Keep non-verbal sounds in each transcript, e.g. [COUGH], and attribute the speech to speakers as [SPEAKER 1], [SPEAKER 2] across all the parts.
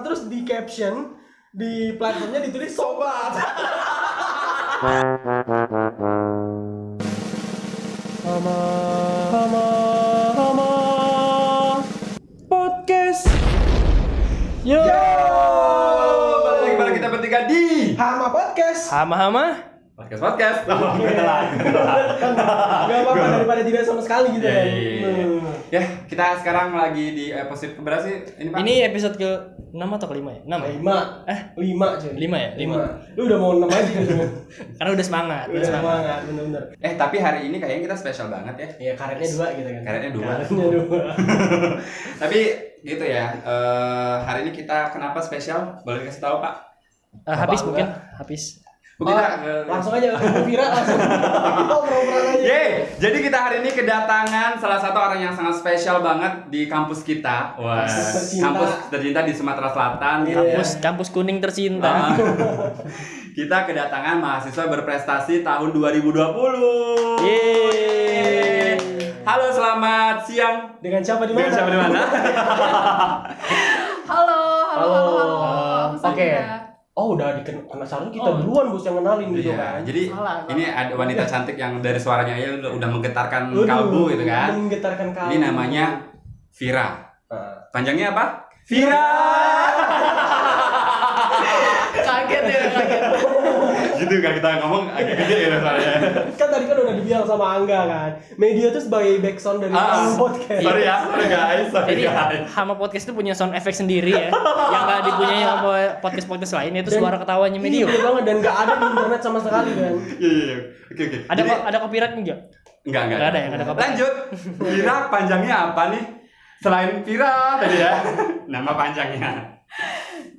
[SPEAKER 1] terus di caption di platformnya ditulis sobat. Mama, mama, mama, podcast. Yo,
[SPEAKER 2] Balik lagi bareng kita bertiga di
[SPEAKER 1] Hama podcast.
[SPEAKER 3] Hama-hama?
[SPEAKER 2] podcast podcast.
[SPEAKER 1] Gak apa-apa daripada tidak sama sekali gitu
[SPEAKER 2] Ya,
[SPEAKER 1] kan.
[SPEAKER 2] iya, iya.
[SPEAKER 1] Hmm.
[SPEAKER 2] Ya, kita sekarang lagi di episode keberapa sih? Ini Pak?
[SPEAKER 3] Ini episode ke 6 atau ke 5 ya? 6 ya?
[SPEAKER 1] Lima,
[SPEAKER 3] Eh?
[SPEAKER 1] lima cuy.
[SPEAKER 3] Lima ya? Lima.
[SPEAKER 1] Lu udah mau enam
[SPEAKER 2] [LAUGHS]
[SPEAKER 1] aja gitu.
[SPEAKER 3] Karena udah semangat,
[SPEAKER 1] Udah
[SPEAKER 3] udah semangat.
[SPEAKER 1] semangat, bener-bener.
[SPEAKER 2] Eh, tapi hari ini kayaknya kita spesial banget ya.
[SPEAKER 1] Iya karetnya dua gitu kan.
[SPEAKER 2] Karetnya dua.
[SPEAKER 1] Karetnya dua.
[SPEAKER 2] tapi gitu ya. eh, hari ini kita kenapa spesial? Boleh dikasih tahu, Pak?
[SPEAKER 3] Eh, habis
[SPEAKER 1] Apa
[SPEAKER 3] mungkin, habis.
[SPEAKER 2] Mungkin
[SPEAKER 1] Oh,
[SPEAKER 2] kita, eh,
[SPEAKER 1] langsung aja langsung viral langsung. Kita obrol-obrolan aja.
[SPEAKER 2] Yeay, jadi kita hari ini kedatangan salah satu orang yang sangat spesial banget di kampus kita. Wah,
[SPEAKER 1] Kampus tercinta.
[SPEAKER 2] kampus tercinta di Sumatera Selatan.
[SPEAKER 1] Iya.
[SPEAKER 2] gitu ya.
[SPEAKER 3] Kampus, kampus kuning tercinta.
[SPEAKER 2] Ah. [LAUGHS] kita kedatangan mahasiswa berprestasi tahun 2020.
[SPEAKER 3] Yeay.
[SPEAKER 2] Halo, selamat siang.
[SPEAKER 1] Dengan siapa di mana?
[SPEAKER 2] Dengan siapa di mana?
[SPEAKER 4] Halo, halo, halo, halo. Aku
[SPEAKER 1] Oke.
[SPEAKER 4] Sandra.
[SPEAKER 1] Oh udah diken penasaran kita
[SPEAKER 4] Oh.
[SPEAKER 1] duluan bos yang kenalin gitu
[SPEAKER 2] Iya,
[SPEAKER 1] kan.
[SPEAKER 2] jadi
[SPEAKER 4] Salah, salah.
[SPEAKER 2] ini ada wanita cantik yang dari suaranya aja udah, udah menggetarkan
[SPEAKER 1] Aduh,
[SPEAKER 2] kalbu gitu kan.
[SPEAKER 1] Menggetarkan kalbu.
[SPEAKER 2] Ini namanya Vira.
[SPEAKER 1] Nah.
[SPEAKER 2] Panjangnya apa? Eh. Vira.
[SPEAKER 4] Kaget ya, kaget.
[SPEAKER 2] gitu kan kita ngomong agak gede ya suaranya.
[SPEAKER 1] Kan tadi kan udah dibilang sama Angga kan. Media tuh sebagai background dari
[SPEAKER 2] Ah,
[SPEAKER 1] Hama podcast.
[SPEAKER 2] Sorry ya, sorry guys, sorry
[SPEAKER 3] Jadi
[SPEAKER 2] guys. Iya,
[SPEAKER 3] Hama Podcast itu punya sound effect sendiri ya Yang gak dipunyai sama podcast-podcast lain Itu
[SPEAKER 1] Dan-
[SPEAKER 3] suara ketawanya
[SPEAKER 1] Iya,
[SPEAKER 3] Medio
[SPEAKER 1] bener banget dan nggak ada di internet sama sekali kan.
[SPEAKER 2] Iya, iya, iya. Oke, oke.
[SPEAKER 3] Ada
[SPEAKER 2] Jadi-
[SPEAKER 3] ko- ada copyright enggak?
[SPEAKER 2] Enggak, enggak.
[SPEAKER 3] Enggak ada ya, enggak ada kabar.
[SPEAKER 2] Lanjut. Vira panjangnya apa nih? Selain Vira tadi ya. [LAUGHS] Nama panjangnya.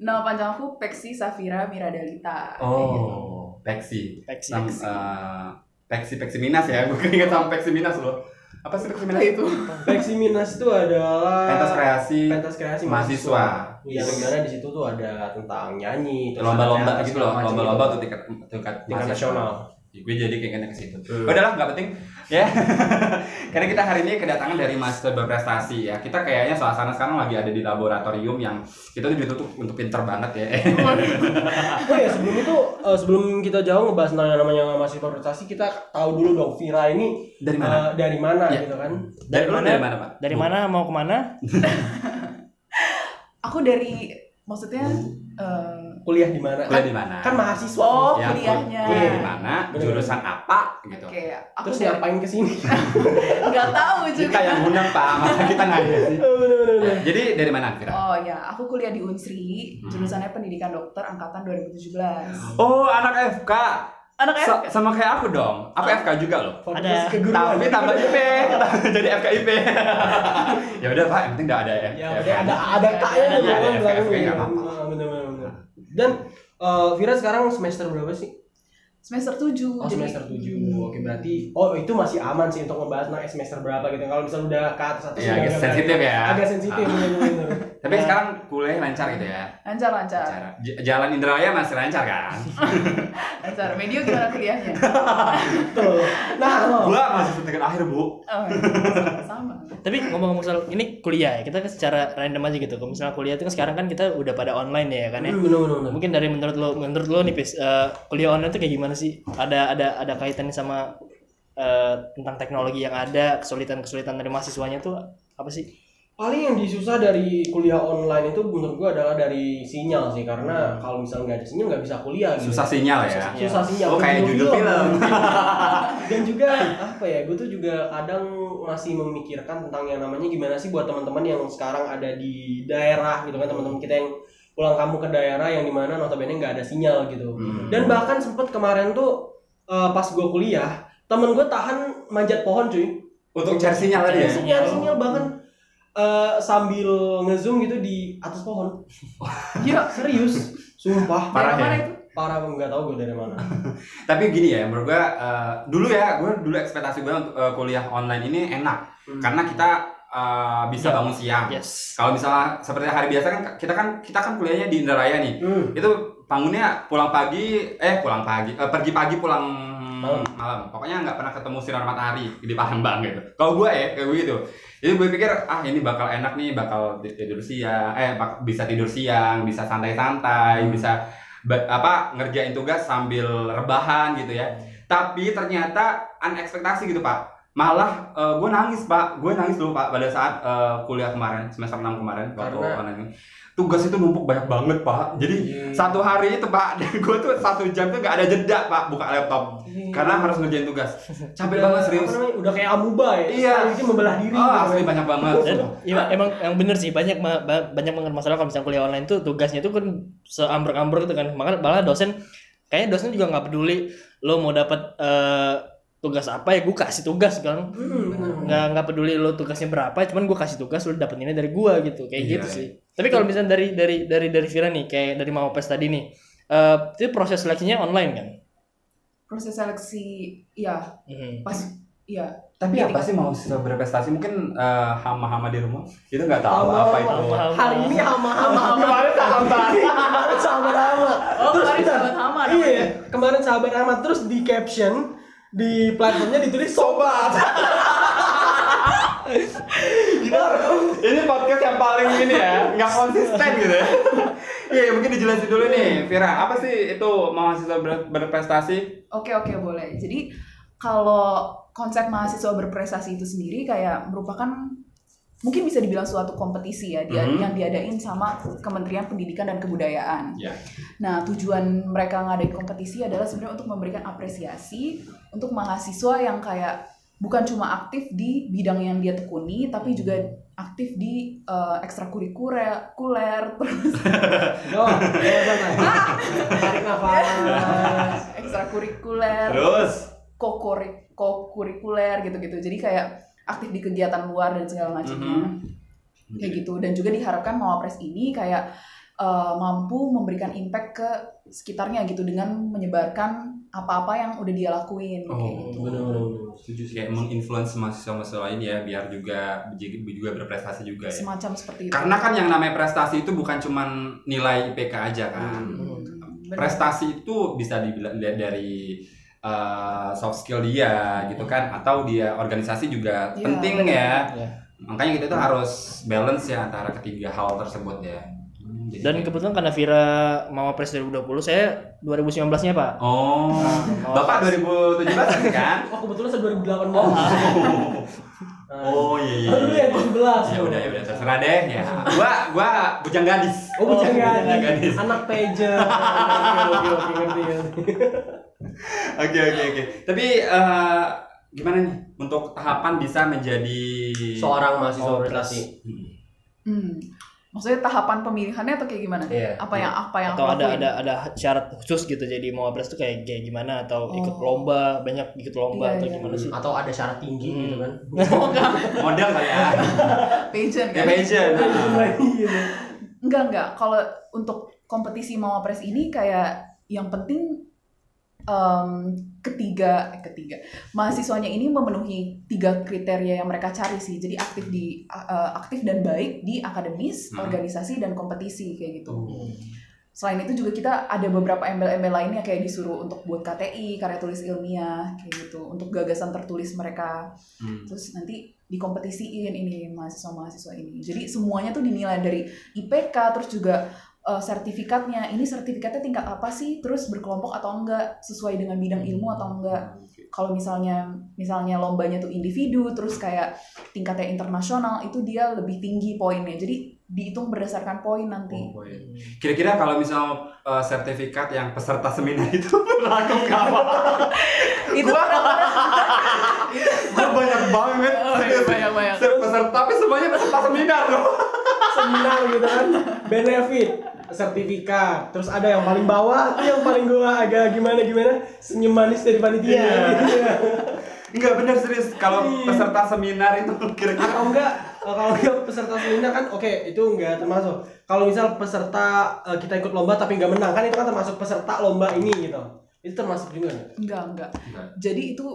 [SPEAKER 4] Nama panjang aku Peksi Safira Miradalita.
[SPEAKER 2] Oh, Peksi.
[SPEAKER 3] Peksi.
[SPEAKER 2] Sam- eh, Peksi Peksi Minas ya. [LAUGHS] Gue ingat sama Peksi Minas loh. Apa sih Peksi
[SPEAKER 4] Nah,
[SPEAKER 2] Minas itu?
[SPEAKER 1] Peksi Minas itu adalah
[SPEAKER 2] Pentas kreasi.
[SPEAKER 1] pentas kreasi
[SPEAKER 2] mahasiswa.
[SPEAKER 1] Yang dimana di situ tuh ada tentang nyanyi, terus ada
[SPEAKER 2] Lomba-lomba
[SPEAKER 1] teater,
[SPEAKER 2] gitu loh,
[SPEAKER 1] segala macam
[SPEAKER 2] lomba-lomba
[SPEAKER 1] gitu.
[SPEAKER 2] tuh tingkat tingkat
[SPEAKER 1] tingkat
[SPEAKER 2] mahasiswa.
[SPEAKER 1] nasional.
[SPEAKER 2] gue jadi keingetnya ke situ.
[SPEAKER 1] Hmm.
[SPEAKER 2] Udahlah nggak penting ya. [LAUGHS] Karena kita hari ini kedatangan dari mahasiswa berprestasi ya. Kita kayaknya suasana sekarang lagi ada di laboratorium yang kita tuh ditutup untuk pinter banget ya. [LAUGHS]
[SPEAKER 1] Oh ya sebelum itu eh, sebelum kita jauh ngebahas tentang yang namanya mahasiswa prestasi kita tahu dulu dong Vira ini eh,
[SPEAKER 2] Dari mana?
[SPEAKER 1] dari mana
[SPEAKER 2] Iya.
[SPEAKER 1] gitu kan?
[SPEAKER 2] Dari, lu
[SPEAKER 3] mana?
[SPEAKER 2] dari mana, Pak?
[SPEAKER 3] Dari mana, mau kemana?
[SPEAKER 4] Aku dari maksudnya eh,
[SPEAKER 1] Kuliah di mana?
[SPEAKER 2] Kuliah
[SPEAKER 1] Kan,
[SPEAKER 2] di mana?
[SPEAKER 1] kan mahasiswa.
[SPEAKER 4] oh,
[SPEAKER 2] Ya,
[SPEAKER 4] kuliahnya.
[SPEAKER 2] Kuliah di mana?
[SPEAKER 1] Bener.
[SPEAKER 2] Jurusan apa gitu.
[SPEAKER 4] Oke, aku
[SPEAKER 1] Terus
[SPEAKER 4] dari-
[SPEAKER 1] ngapain kesini?
[SPEAKER 4] nggak tahu juga.
[SPEAKER 2] Kita ya? yang undang, Pak. Masa kita nanya sih.
[SPEAKER 1] Bener-bener.
[SPEAKER 2] Jadi dari mana Fira?
[SPEAKER 4] Oh ya, aku kuliah di Unsri,
[SPEAKER 2] Hmm.
[SPEAKER 4] jurusannya Pendidikan Dokter angkatan 2017.
[SPEAKER 2] Oh, anak FK.
[SPEAKER 4] Anak F.
[SPEAKER 2] So- sama kayak aku dong. Apa FK juga loh?
[SPEAKER 1] Fakultas
[SPEAKER 3] Ada.
[SPEAKER 1] keguruan.
[SPEAKER 2] Tapi tambah IP, [LAUGHS] jadi FKIP. ya udah Pak, yang penting udah ada ya.
[SPEAKER 1] Ya,
[SPEAKER 2] FK.
[SPEAKER 1] maksudnya ada ada kaknya
[SPEAKER 2] Iya,
[SPEAKER 1] di
[SPEAKER 2] ada
[SPEAKER 1] belakang belakang
[SPEAKER 2] FFP, nggak
[SPEAKER 1] gitu.
[SPEAKER 2] apa-apa.
[SPEAKER 1] Ah, bener-bener, bener. Dan eh, Vira sekarang semester berapa sih?
[SPEAKER 4] Semester 7.
[SPEAKER 1] Oh semester 7 Oke berarti Oh itu masih aman sih untuk ngebahas naik semester berapa gitu Kalau misalnya udah ke atas atas
[SPEAKER 2] Iya,
[SPEAKER 1] udah
[SPEAKER 2] agak
[SPEAKER 1] nggak
[SPEAKER 2] sensitif
[SPEAKER 1] berani.
[SPEAKER 2] ya.
[SPEAKER 1] Agak sensitif
[SPEAKER 2] Ah.
[SPEAKER 1] bener-bener.
[SPEAKER 2] Tapi sekarang kuliah lancar gitu ya.
[SPEAKER 4] Lancar-lancar.
[SPEAKER 2] Lancar. J- Jalan Indralaya masih lancar kan?
[SPEAKER 4] Lancar. Medio gimana kuliahnya?
[SPEAKER 2] [LAUGHS]
[SPEAKER 1] Betul Nah lo
[SPEAKER 2] Gua masih suntikan akhir, Bu.
[SPEAKER 4] Oh, sama.
[SPEAKER 3] Tapi ngomong-ngomong soal ini kuliah ya Kita secara random aja gitu Kalau misalnya kuliah itu kan sekarang kan kita udah pada online ya kan ya
[SPEAKER 1] Bener-bener
[SPEAKER 3] Mungkin dari menurut lo, menurut lo nih, Pis, eh, kuliah online tuh kayak gimana sih? Ada ada ada kaitannya sama eh, tentang teknologi yang ada, kesulitan-kesulitan dari mahasiswanya tuh apa sih?
[SPEAKER 1] Paling yang disusah dari kuliah online itu menurut gua adalah dari sinyal sih Karena kalau misalnya nggak ada sinyal nggak bisa kuliah gitu
[SPEAKER 2] Hmm. Susah sinyal ya.
[SPEAKER 1] Susah sinyal
[SPEAKER 2] Oh, kayak judul film.
[SPEAKER 1] gitu.
[SPEAKER 2] [LAUGHS]
[SPEAKER 1] Dan juga apa ya Gue tuh juga kadang masih memikirkan tentang yang namanya gimana sih buat teman-teman yang sekarang ada di daerah gitu kan Teman-teman kita yang pulang kampung ke daerah yang dimana notabene nggak ada sinyal gitu
[SPEAKER 2] Hmm.
[SPEAKER 1] Dan bahkan sempet kemarin tuh eh, pas gue kuliah, temen gue tahan manjat pohon cuy.
[SPEAKER 2] untuk cari sinyal tadi
[SPEAKER 1] Nyari
[SPEAKER 2] ya.
[SPEAKER 3] Cari
[SPEAKER 1] sinyal, sinyal bahkan eh, sambil ngezoom gitu di atas
[SPEAKER 2] [LAUGHS]
[SPEAKER 1] pohon.
[SPEAKER 4] Gila.
[SPEAKER 1] Serius, sumpah.
[SPEAKER 2] Parah
[SPEAKER 4] Daerah
[SPEAKER 2] ya?
[SPEAKER 4] mana itu?
[SPEAKER 1] Parah nggak tahu gue dari mana.
[SPEAKER 2] Tapi gini ya, menurut gua eh, dulu ya, gua dulu ekspektasi gua untuk eh, kuliah online ini enak
[SPEAKER 1] Hmm.
[SPEAKER 2] karena kita eh, bisa
[SPEAKER 3] Iya.
[SPEAKER 2] bangun siang.
[SPEAKER 3] Yes.
[SPEAKER 2] Kalau misalnya seperti hari biasa kan kita kan kita kan kuliahnya di Indralaya nih.
[SPEAKER 1] Hmm.
[SPEAKER 2] Itu bangunnya pulang pagi, eh pulang pagi, eh, pergi pagi pulang malam malam pokoknya nggak pernah ketemu sinar matahari di Palembang gitu kalau gue ya kayak gue gitu jadi gue pikir ah ini bakal enak nih bakal tidur siang eh bak- bisa tidur siang bisa santai-santai
[SPEAKER 1] Hmm.
[SPEAKER 2] bisa ba- apa ngerjain tugas sambil rebahan gitu ya tapi ternyata unexpectasi gitu pak malah gue nangis pak gue nangis dulu pak pada saat eh, kuliah kemarin semester 6 kemarin waktu
[SPEAKER 1] Karena-
[SPEAKER 2] online. tugas itu numpuk banyak banget pak jadi satu hari itu pak [LAUGHS] gue tuh satu jam tuh gak ada jeda pak buka laptop karena harus ngerjain tugas capek banget serius
[SPEAKER 1] Iya. udah kayak amuba ya
[SPEAKER 2] Iya.
[SPEAKER 1] itu membelah diri
[SPEAKER 2] oh
[SPEAKER 1] gitu
[SPEAKER 2] asli
[SPEAKER 1] kan.
[SPEAKER 2] banyak banget
[SPEAKER 3] Dan ya, emang yang bener sih banyak ma- ba- banyak banget masalah kalau misalnya kuliah online tuh tugasnya tuh kan seambrek-ambrek gitu kan. Makanya malah dosen kayaknya dosen juga nggak peduli lo mau dapat eh, tugas apa ya gue kasih tugas kan.
[SPEAKER 1] Hmm, bener.
[SPEAKER 3] Nggak nggak peduli lo tugasnya berapa, cuman gue kasih tugas lo dapet ini dari gua gitu. Kayak
[SPEAKER 2] Iya.
[SPEAKER 3] gitu sih. Tapi kalau misalnya dari dari dari dari Vira nih kayak dari Mama Pes tadi nih. eh, itu proses seleksinya online kan?
[SPEAKER 4] proses seleksi ya
[SPEAKER 2] Mm-hmm.
[SPEAKER 3] Mhm.
[SPEAKER 4] pas ya
[SPEAKER 2] tapi apa sih mau siswa berprestasi mungkin eh, hama-hama di rumah itu nggak tahu
[SPEAKER 1] Hama-hama.
[SPEAKER 2] apa itu
[SPEAKER 3] Hama-hama.
[SPEAKER 1] hari ini hama hama
[SPEAKER 4] Hama-hama.
[SPEAKER 1] kemarin [LAUGHS] sahabat kemarin sahabat hama
[SPEAKER 4] oh
[SPEAKER 1] terus
[SPEAKER 4] kemarin
[SPEAKER 1] bentar.
[SPEAKER 4] sahabat hama
[SPEAKER 1] iya kemarin sahabat hama terus di caption di platformnya ditulis sobat
[SPEAKER 2] Gila, ini podcast yang paling ini ya nggak konsisten gitu ya [LAUGHS] iya ya, mungkin dijelasin dulu nih Vira apa sih itu mahasiswa ber- berprestasi
[SPEAKER 4] Oke oke boleh. Jadi kalau konsep mahasiswa berprestasi itu sendiri kayak merupakan mungkin bisa dibilang suatu kompetisi ya dia-
[SPEAKER 2] Mhm.
[SPEAKER 4] yang diadain sama Kementerian Pendidikan dan Kebudayaan.
[SPEAKER 2] ya
[SPEAKER 4] Nah tujuan mereka ngadain kompetisi adalah sebenarnya untuk memberikan apresiasi untuk mahasiswa yang kayak bukan cuma aktif di bidang yang dia tekuni tapi juga aktif di eh, ekstrakurikuler, kuler, terus
[SPEAKER 2] [LAUGHS]
[SPEAKER 1] Go, tarik nafas
[SPEAKER 4] ekstrakurikuler,
[SPEAKER 2] terus
[SPEAKER 4] kokore- kokurikuler gitu-gitu. Jadi kayak aktif di kegiatan luar dan segala macamnya.
[SPEAKER 2] Mm-hmm.
[SPEAKER 4] Kayak gitu dan juga diharapkan Mawapres ini kayak eh, mampu memberikan impact ke sekitarnya gitu dengan menyebarkan apa-apa yang udah dia lakuin kayak
[SPEAKER 2] Oh.
[SPEAKER 4] gitu.
[SPEAKER 1] setuju
[SPEAKER 2] kayak menginfluence mahasiswa-mahasiswa lain ya biar juga juga berprestasi juga ya
[SPEAKER 4] Semacam seperti itu.
[SPEAKER 2] karena kan yang namanya prestasi itu bukan cuman nilai IPK aja kan
[SPEAKER 4] Hmm, benar.
[SPEAKER 2] prestasi itu bisa dibilang dilihat dari uh, soft skill dia gitu kan atau dia organisasi juga
[SPEAKER 4] Iya,
[SPEAKER 2] penting
[SPEAKER 4] benar.
[SPEAKER 2] ya
[SPEAKER 3] Iya.
[SPEAKER 2] makanya kita tuh harus balance ya antara ketiga hal tersebut ya Jadi
[SPEAKER 3] Dan
[SPEAKER 2] kayak-
[SPEAKER 3] kebetulan karena Vira Mama Pres 2020, saya 2019-nya, Pak.
[SPEAKER 2] oh
[SPEAKER 3] Nah,
[SPEAKER 2] bapak 2017 kan
[SPEAKER 1] oh kebetulan saya 2018
[SPEAKER 2] oh
[SPEAKER 1] Nah,
[SPEAKER 2] [LAUGHS] oh iya iya
[SPEAKER 1] Lalu ya 17
[SPEAKER 2] ya udah ya udah terserah deh ya gua gua bujang gadis
[SPEAKER 1] Oh, bujang
[SPEAKER 2] Bujang
[SPEAKER 1] gadis. Anak
[SPEAKER 2] [LAUGHS]
[SPEAKER 1] pager. Oke, oke, oke, ngerti, ngerti.
[SPEAKER 2] Oke oke oke. Tapi eh, gimana nih untuk tahapan bisa menjadi
[SPEAKER 1] Seorang mahasiswa
[SPEAKER 2] Oh,
[SPEAKER 1] berprestasi.
[SPEAKER 2] Hmm.
[SPEAKER 4] Hmm. Maksudnya tahapan pemilihannya atau kayak gimana?
[SPEAKER 1] Iya.
[SPEAKER 4] Apa yang apa yang
[SPEAKER 3] atau
[SPEAKER 4] aku
[SPEAKER 3] ada
[SPEAKER 4] lakuin?
[SPEAKER 3] ada ada syarat khusus gitu jadi mau abres tuh kayak kayak gimana atau
[SPEAKER 4] Oh.
[SPEAKER 3] ikut lomba banyak ikut lomba
[SPEAKER 4] Iya,
[SPEAKER 3] atau
[SPEAKER 4] iya.
[SPEAKER 3] gimana sih
[SPEAKER 1] Atau ada syarat tinggi
[SPEAKER 3] Hmm.
[SPEAKER 1] gitu
[SPEAKER 4] [LAUGHS]
[SPEAKER 1] kan.
[SPEAKER 4] Oh, enggak,
[SPEAKER 2] model kali ya.
[SPEAKER 4] pageant
[SPEAKER 2] Ya
[SPEAKER 4] kan?
[SPEAKER 2] passion. Nah.
[SPEAKER 4] Enggak, enggak. Kalau untuk kompetisi Mawapres ini kayak yang penting em, ketiga eh, ketiga mahasiswanya ini memenuhi tiga kriteria yang mereka cari sih. Jadi aktif di eh, aktif dan baik di akademis,
[SPEAKER 2] Hmm.
[SPEAKER 4] organisasi dan kompetisi kayak gitu.
[SPEAKER 1] Hmm.
[SPEAKER 4] Selain itu juga kita ada beberapa embel-embel lainnya kayak disuruh untuk buat KTI, karya tulis ilmiah kayak gitu, untuk gagasan tertulis mereka
[SPEAKER 2] Hmm.
[SPEAKER 4] terus nanti dikompetisiin ini mahasiswa-mahasiswa ini. Jadi semuanya tuh dinilai dari IPK terus juga eh, sertifikatnya. Ini sertifikatnya tingkat apa sih? Terus berkelompok atau enggak sesuai dengan bidang ilmu atau enggak? Kalau misalnya misalnya lombanya tuh individu terus kayak tingkatnya internasional itu dia lebih tinggi poinnya. Jadi dihitung berdasarkan poin nanti.
[SPEAKER 2] Oh, iya. Kira-kira kalau misal eh, sertifikat yang peserta seminar itu [LAUGHS] berlaku nggak apa?
[SPEAKER 4] itu benar-benar
[SPEAKER 2] Gua banyak banget. serius.
[SPEAKER 4] banyak-banyak.
[SPEAKER 2] Ser- Peserta tapi semuanya peserta seminar loh.
[SPEAKER 1] Seminar gitu kan. Benefit sertifikat terus ada yang paling bawah itu yang paling gua agak gimana gimana senyum manis dari panitia
[SPEAKER 2] Iya.
[SPEAKER 1] Iya.
[SPEAKER 2] Enggak bener serius kalau peserta seminar itu kira-kira
[SPEAKER 1] [LAUGHS] atau enggak eh, kalau enggak peserta seminar kan oke itu enggak termasuk kalau misal peserta eh, kita ikut lomba tapi enggak menang kan itu kan termasuk peserta lomba ini gitu itu termasuk juga nggak?
[SPEAKER 4] Enggak, enggak.
[SPEAKER 2] Enggak.
[SPEAKER 4] Jadi itu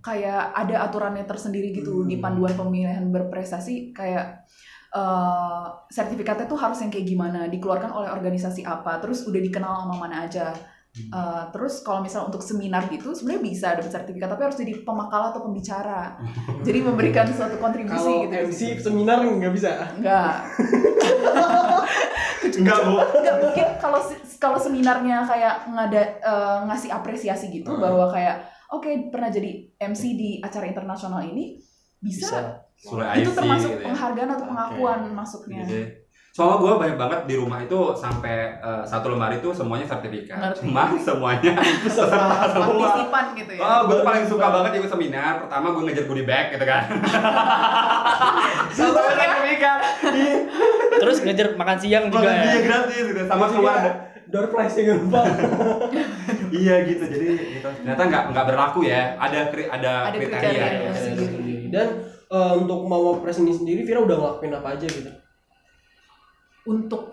[SPEAKER 4] kayak ada aturannya tersendiri gitu di panduan pemilihan berprestasi kayak eh, sertifikatnya tuh harus yang kayak gimana, dikeluarkan oleh organisasi apa, terus udah dikenal sama mana aja. Uh, terus kalau misalnya untuk seminar gitu sebenarnya bisa dapat sertifikat tapi harus jadi pemakalah atau pembicara. Jadi memberikan suatu kontribusi
[SPEAKER 1] Kalau
[SPEAKER 4] gitu.
[SPEAKER 1] MC seminar nggak bisa.
[SPEAKER 4] Enggak.
[SPEAKER 2] Enggak, Bu.
[SPEAKER 4] Enggak mungkin kalau se- kalau seminarnya kayak ngada eh, ngasih apresiasi gitu
[SPEAKER 2] Hmm.
[SPEAKER 4] bahwa kayak oke pernah jadi MC di acara internasional ini bisa, Nah,
[SPEAKER 2] Surat
[SPEAKER 4] itu
[SPEAKER 2] IC
[SPEAKER 4] termasuk
[SPEAKER 2] gitu ya.
[SPEAKER 4] penghargaan atau
[SPEAKER 2] Oke.
[SPEAKER 4] pengakuan masuknya.
[SPEAKER 2] Gitu ya. Soalnya gue banyak banget di rumah itu sampai eh, satu lemari itu semuanya sertifikat.
[SPEAKER 4] Ngerti.
[SPEAKER 2] Cuma [LAUGHS] semuanya peserta semua.
[SPEAKER 4] Partisipan gitu ya.
[SPEAKER 2] Oh, gue paling suka banget ikut seminar. Pertama gue ngejar goodie bag gitu kan. Sama sertifikat. Iya,
[SPEAKER 3] Terus ngejar makan siang juga
[SPEAKER 2] makan dia
[SPEAKER 3] ya.
[SPEAKER 2] gratis gitu. Sama keluarga.
[SPEAKER 1] Door prize yang lupa.
[SPEAKER 2] Iya gitu. Jadi gitu. Ternyata nggak nggak berlaku ya. Ada kri- ada,
[SPEAKER 4] Ada
[SPEAKER 2] kriteria.
[SPEAKER 4] kriteria.
[SPEAKER 2] ya.
[SPEAKER 1] Iya, Dan eh, untuk mau Press ini sendiri Vira udah ngelakuin apa aja gitu.
[SPEAKER 4] Untuk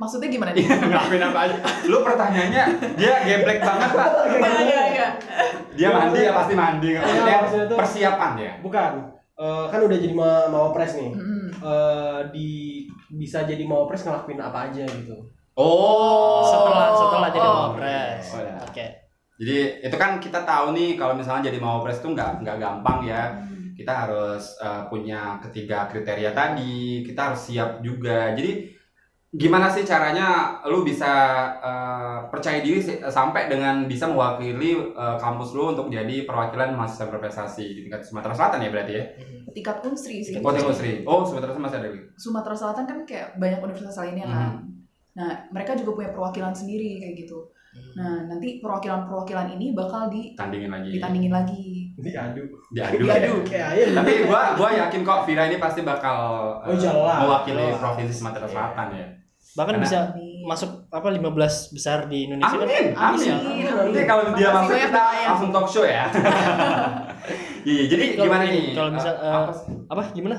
[SPEAKER 4] maksudnya gimana nih?
[SPEAKER 2] Iya, [LAUGHS] ngapain apa aja. Lu pertanyaannya dia geblek banget lah.
[SPEAKER 4] Enggak, enggak,
[SPEAKER 2] Iya.
[SPEAKER 4] enggak.
[SPEAKER 2] Dia mandi ya pasti mandi. nggak
[SPEAKER 1] Iya,
[SPEAKER 2] Maksudnya
[SPEAKER 1] maksudnya tuh-
[SPEAKER 2] persiapan ya.
[SPEAKER 1] Bukan. Eh, kan udah jadi ma Mawapres nih.
[SPEAKER 4] Mm-mm.
[SPEAKER 1] Eh, di bisa jadi Mawapres ngelakuin apa aja gitu. [LAUGHS]
[SPEAKER 2] Oh.
[SPEAKER 3] Setelah setelah jadi
[SPEAKER 4] Oh,
[SPEAKER 3] mau press.
[SPEAKER 2] oh, ya.
[SPEAKER 3] Oke.
[SPEAKER 2] Jadi itu kan kita tahu nih kalau misalnya jadi mau pres itu nggak nggak gampang ya.
[SPEAKER 4] Hmm.
[SPEAKER 2] Kita harus eh, punya ketiga kriteria tadi. Kita harus siap juga. Jadi gimana sih caranya lu bisa eh, percaya diri si- sampai dengan bisa mewakili eh, kampus lu untuk jadi perwakilan mahasiswa berprestasi di tingkat Sumatera Selatan ya berarti ya?
[SPEAKER 4] Tingkat unsri sih.
[SPEAKER 2] Oh, tingkat Sri. Oh, Sumatera Selatan masih ada. lagi.
[SPEAKER 4] Sumatera Selatan kan kayak banyak universitas lainnya kan.
[SPEAKER 2] Hmm.
[SPEAKER 4] Nah, mereka juga punya perwakilan sendiri kayak gitu.
[SPEAKER 2] Hmm.
[SPEAKER 4] Nah, nanti perwakilan-perwakilan ini bakal di,
[SPEAKER 2] Tandingin lagi.
[SPEAKER 4] ditandingin lagi.
[SPEAKER 1] Diadu.
[SPEAKER 2] Diadu. ya.
[SPEAKER 4] Diadu.
[SPEAKER 1] Kayak ayam.
[SPEAKER 2] Tapi gua gua yakin kok Vira ini pasti bakal eh,
[SPEAKER 1] Oh, jelas.
[SPEAKER 2] mewakili
[SPEAKER 3] Jelas.
[SPEAKER 2] provinsi Sumatera
[SPEAKER 3] Iya.
[SPEAKER 2] Selatan ya.
[SPEAKER 3] Bahkan
[SPEAKER 2] Karena-
[SPEAKER 3] bisa
[SPEAKER 4] Amin.
[SPEAKER 3] Iya. masuk apa 15 besar di Indonesia kan.
[SPEAKER 2] Amin, amin.
[SPEAKER 4] Amin.
[SPEAKER 2] Nanti kalau dia
[SPEAKER 4] Makasih
[SPEAKER 2] masuk
[SPEAKER 4] banyak,
[SPEAKER 2] kita
[SPEAKER 4] Pak, ya.
[SPEAKER 2] langsung talk show [LAUGHS] ya. Iya, jadi
[SPEAKER 3] Kalau
[SPEAKER 2] gimana
[SPEAKER 3] gini,
[SPEAKER 2] nih?
[SPEAKER 3] kalau bisa,
[SPEAKER 2] Eh, apa, sih,
[SPEAKER 3] Apa gimana?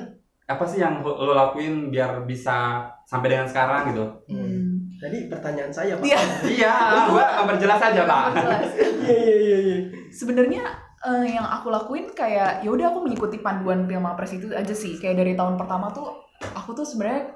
[SPEAKER 2] apa sih yang lo lo lakuin biar bisa sampai dengan sekarang gitu?
[SPEAKER 4] Hmm.
[SPEAKER 1] Jadi pertanyaan saya Pak.
[SPEAKER 4] Iya.
[SPEAKER 2] iya, gua memperjelas aja pak.
[SPEAKER 4] Jelas.
[SPEAKER 1] Iya iya iya iya.
[SPEAKER 4] Sebenarnya eh, yang aku lakuin kayak ya udah aku mengikuti panduan Pilma Press itu aja sih. Kayak dari tahun pertama tuh aku tuh sebenarnya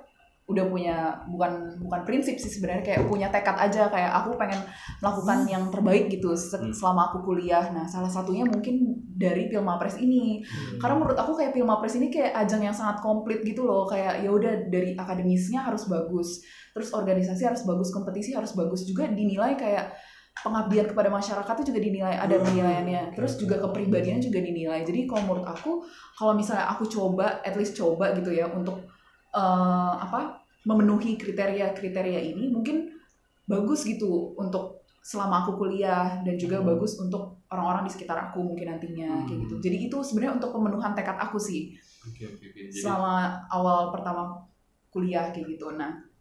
[SPEAKER 4] udah punya bukan bukan prinsip sih sebenarnya kayak punya tekad aja kayak aku pengen melakukan yang terbaik gitu se-
[SPEAKER 2] Hmm.
[SPEAKER 4] selama aku kuliah. Nah, salah satunya mungkin dari Pilma Press ini. karena menurut aku kayak film Press ini kayak ajang yang sangat komplit gitu loh kayak ya udah dari akademisnya harus bagus terus organisasi harus bagus kompetisi harus bagus juga dinilai kayak pengabdian kepada masyarakat itu juga dinilai ada
[SPEAKER 1] Hmm.
[SPEAKER 4] penilaiannya terus juga kepribadian juga dinilai jadi kalau menurut aku kalau misalnya aku coba at least coba gitu ya untuk eh, apa memenuhi kriteria-kriteria ini mungkin bagus gitu untuk selama aku kuliah dan juga bagus untuk orang-orang di sekitar aku mungkin
[SPEAKER 2] Hmm.
[SPEAKER 4] nantinya kayak gitu. Jadi itu sebenarnya untuk pemenuhan tekad aku sih
[SPEAKER 2] Oke, oke, oke. Jadi-
[SPEAKER 4] selama awal pertama kuliah kayak gitu. Nah,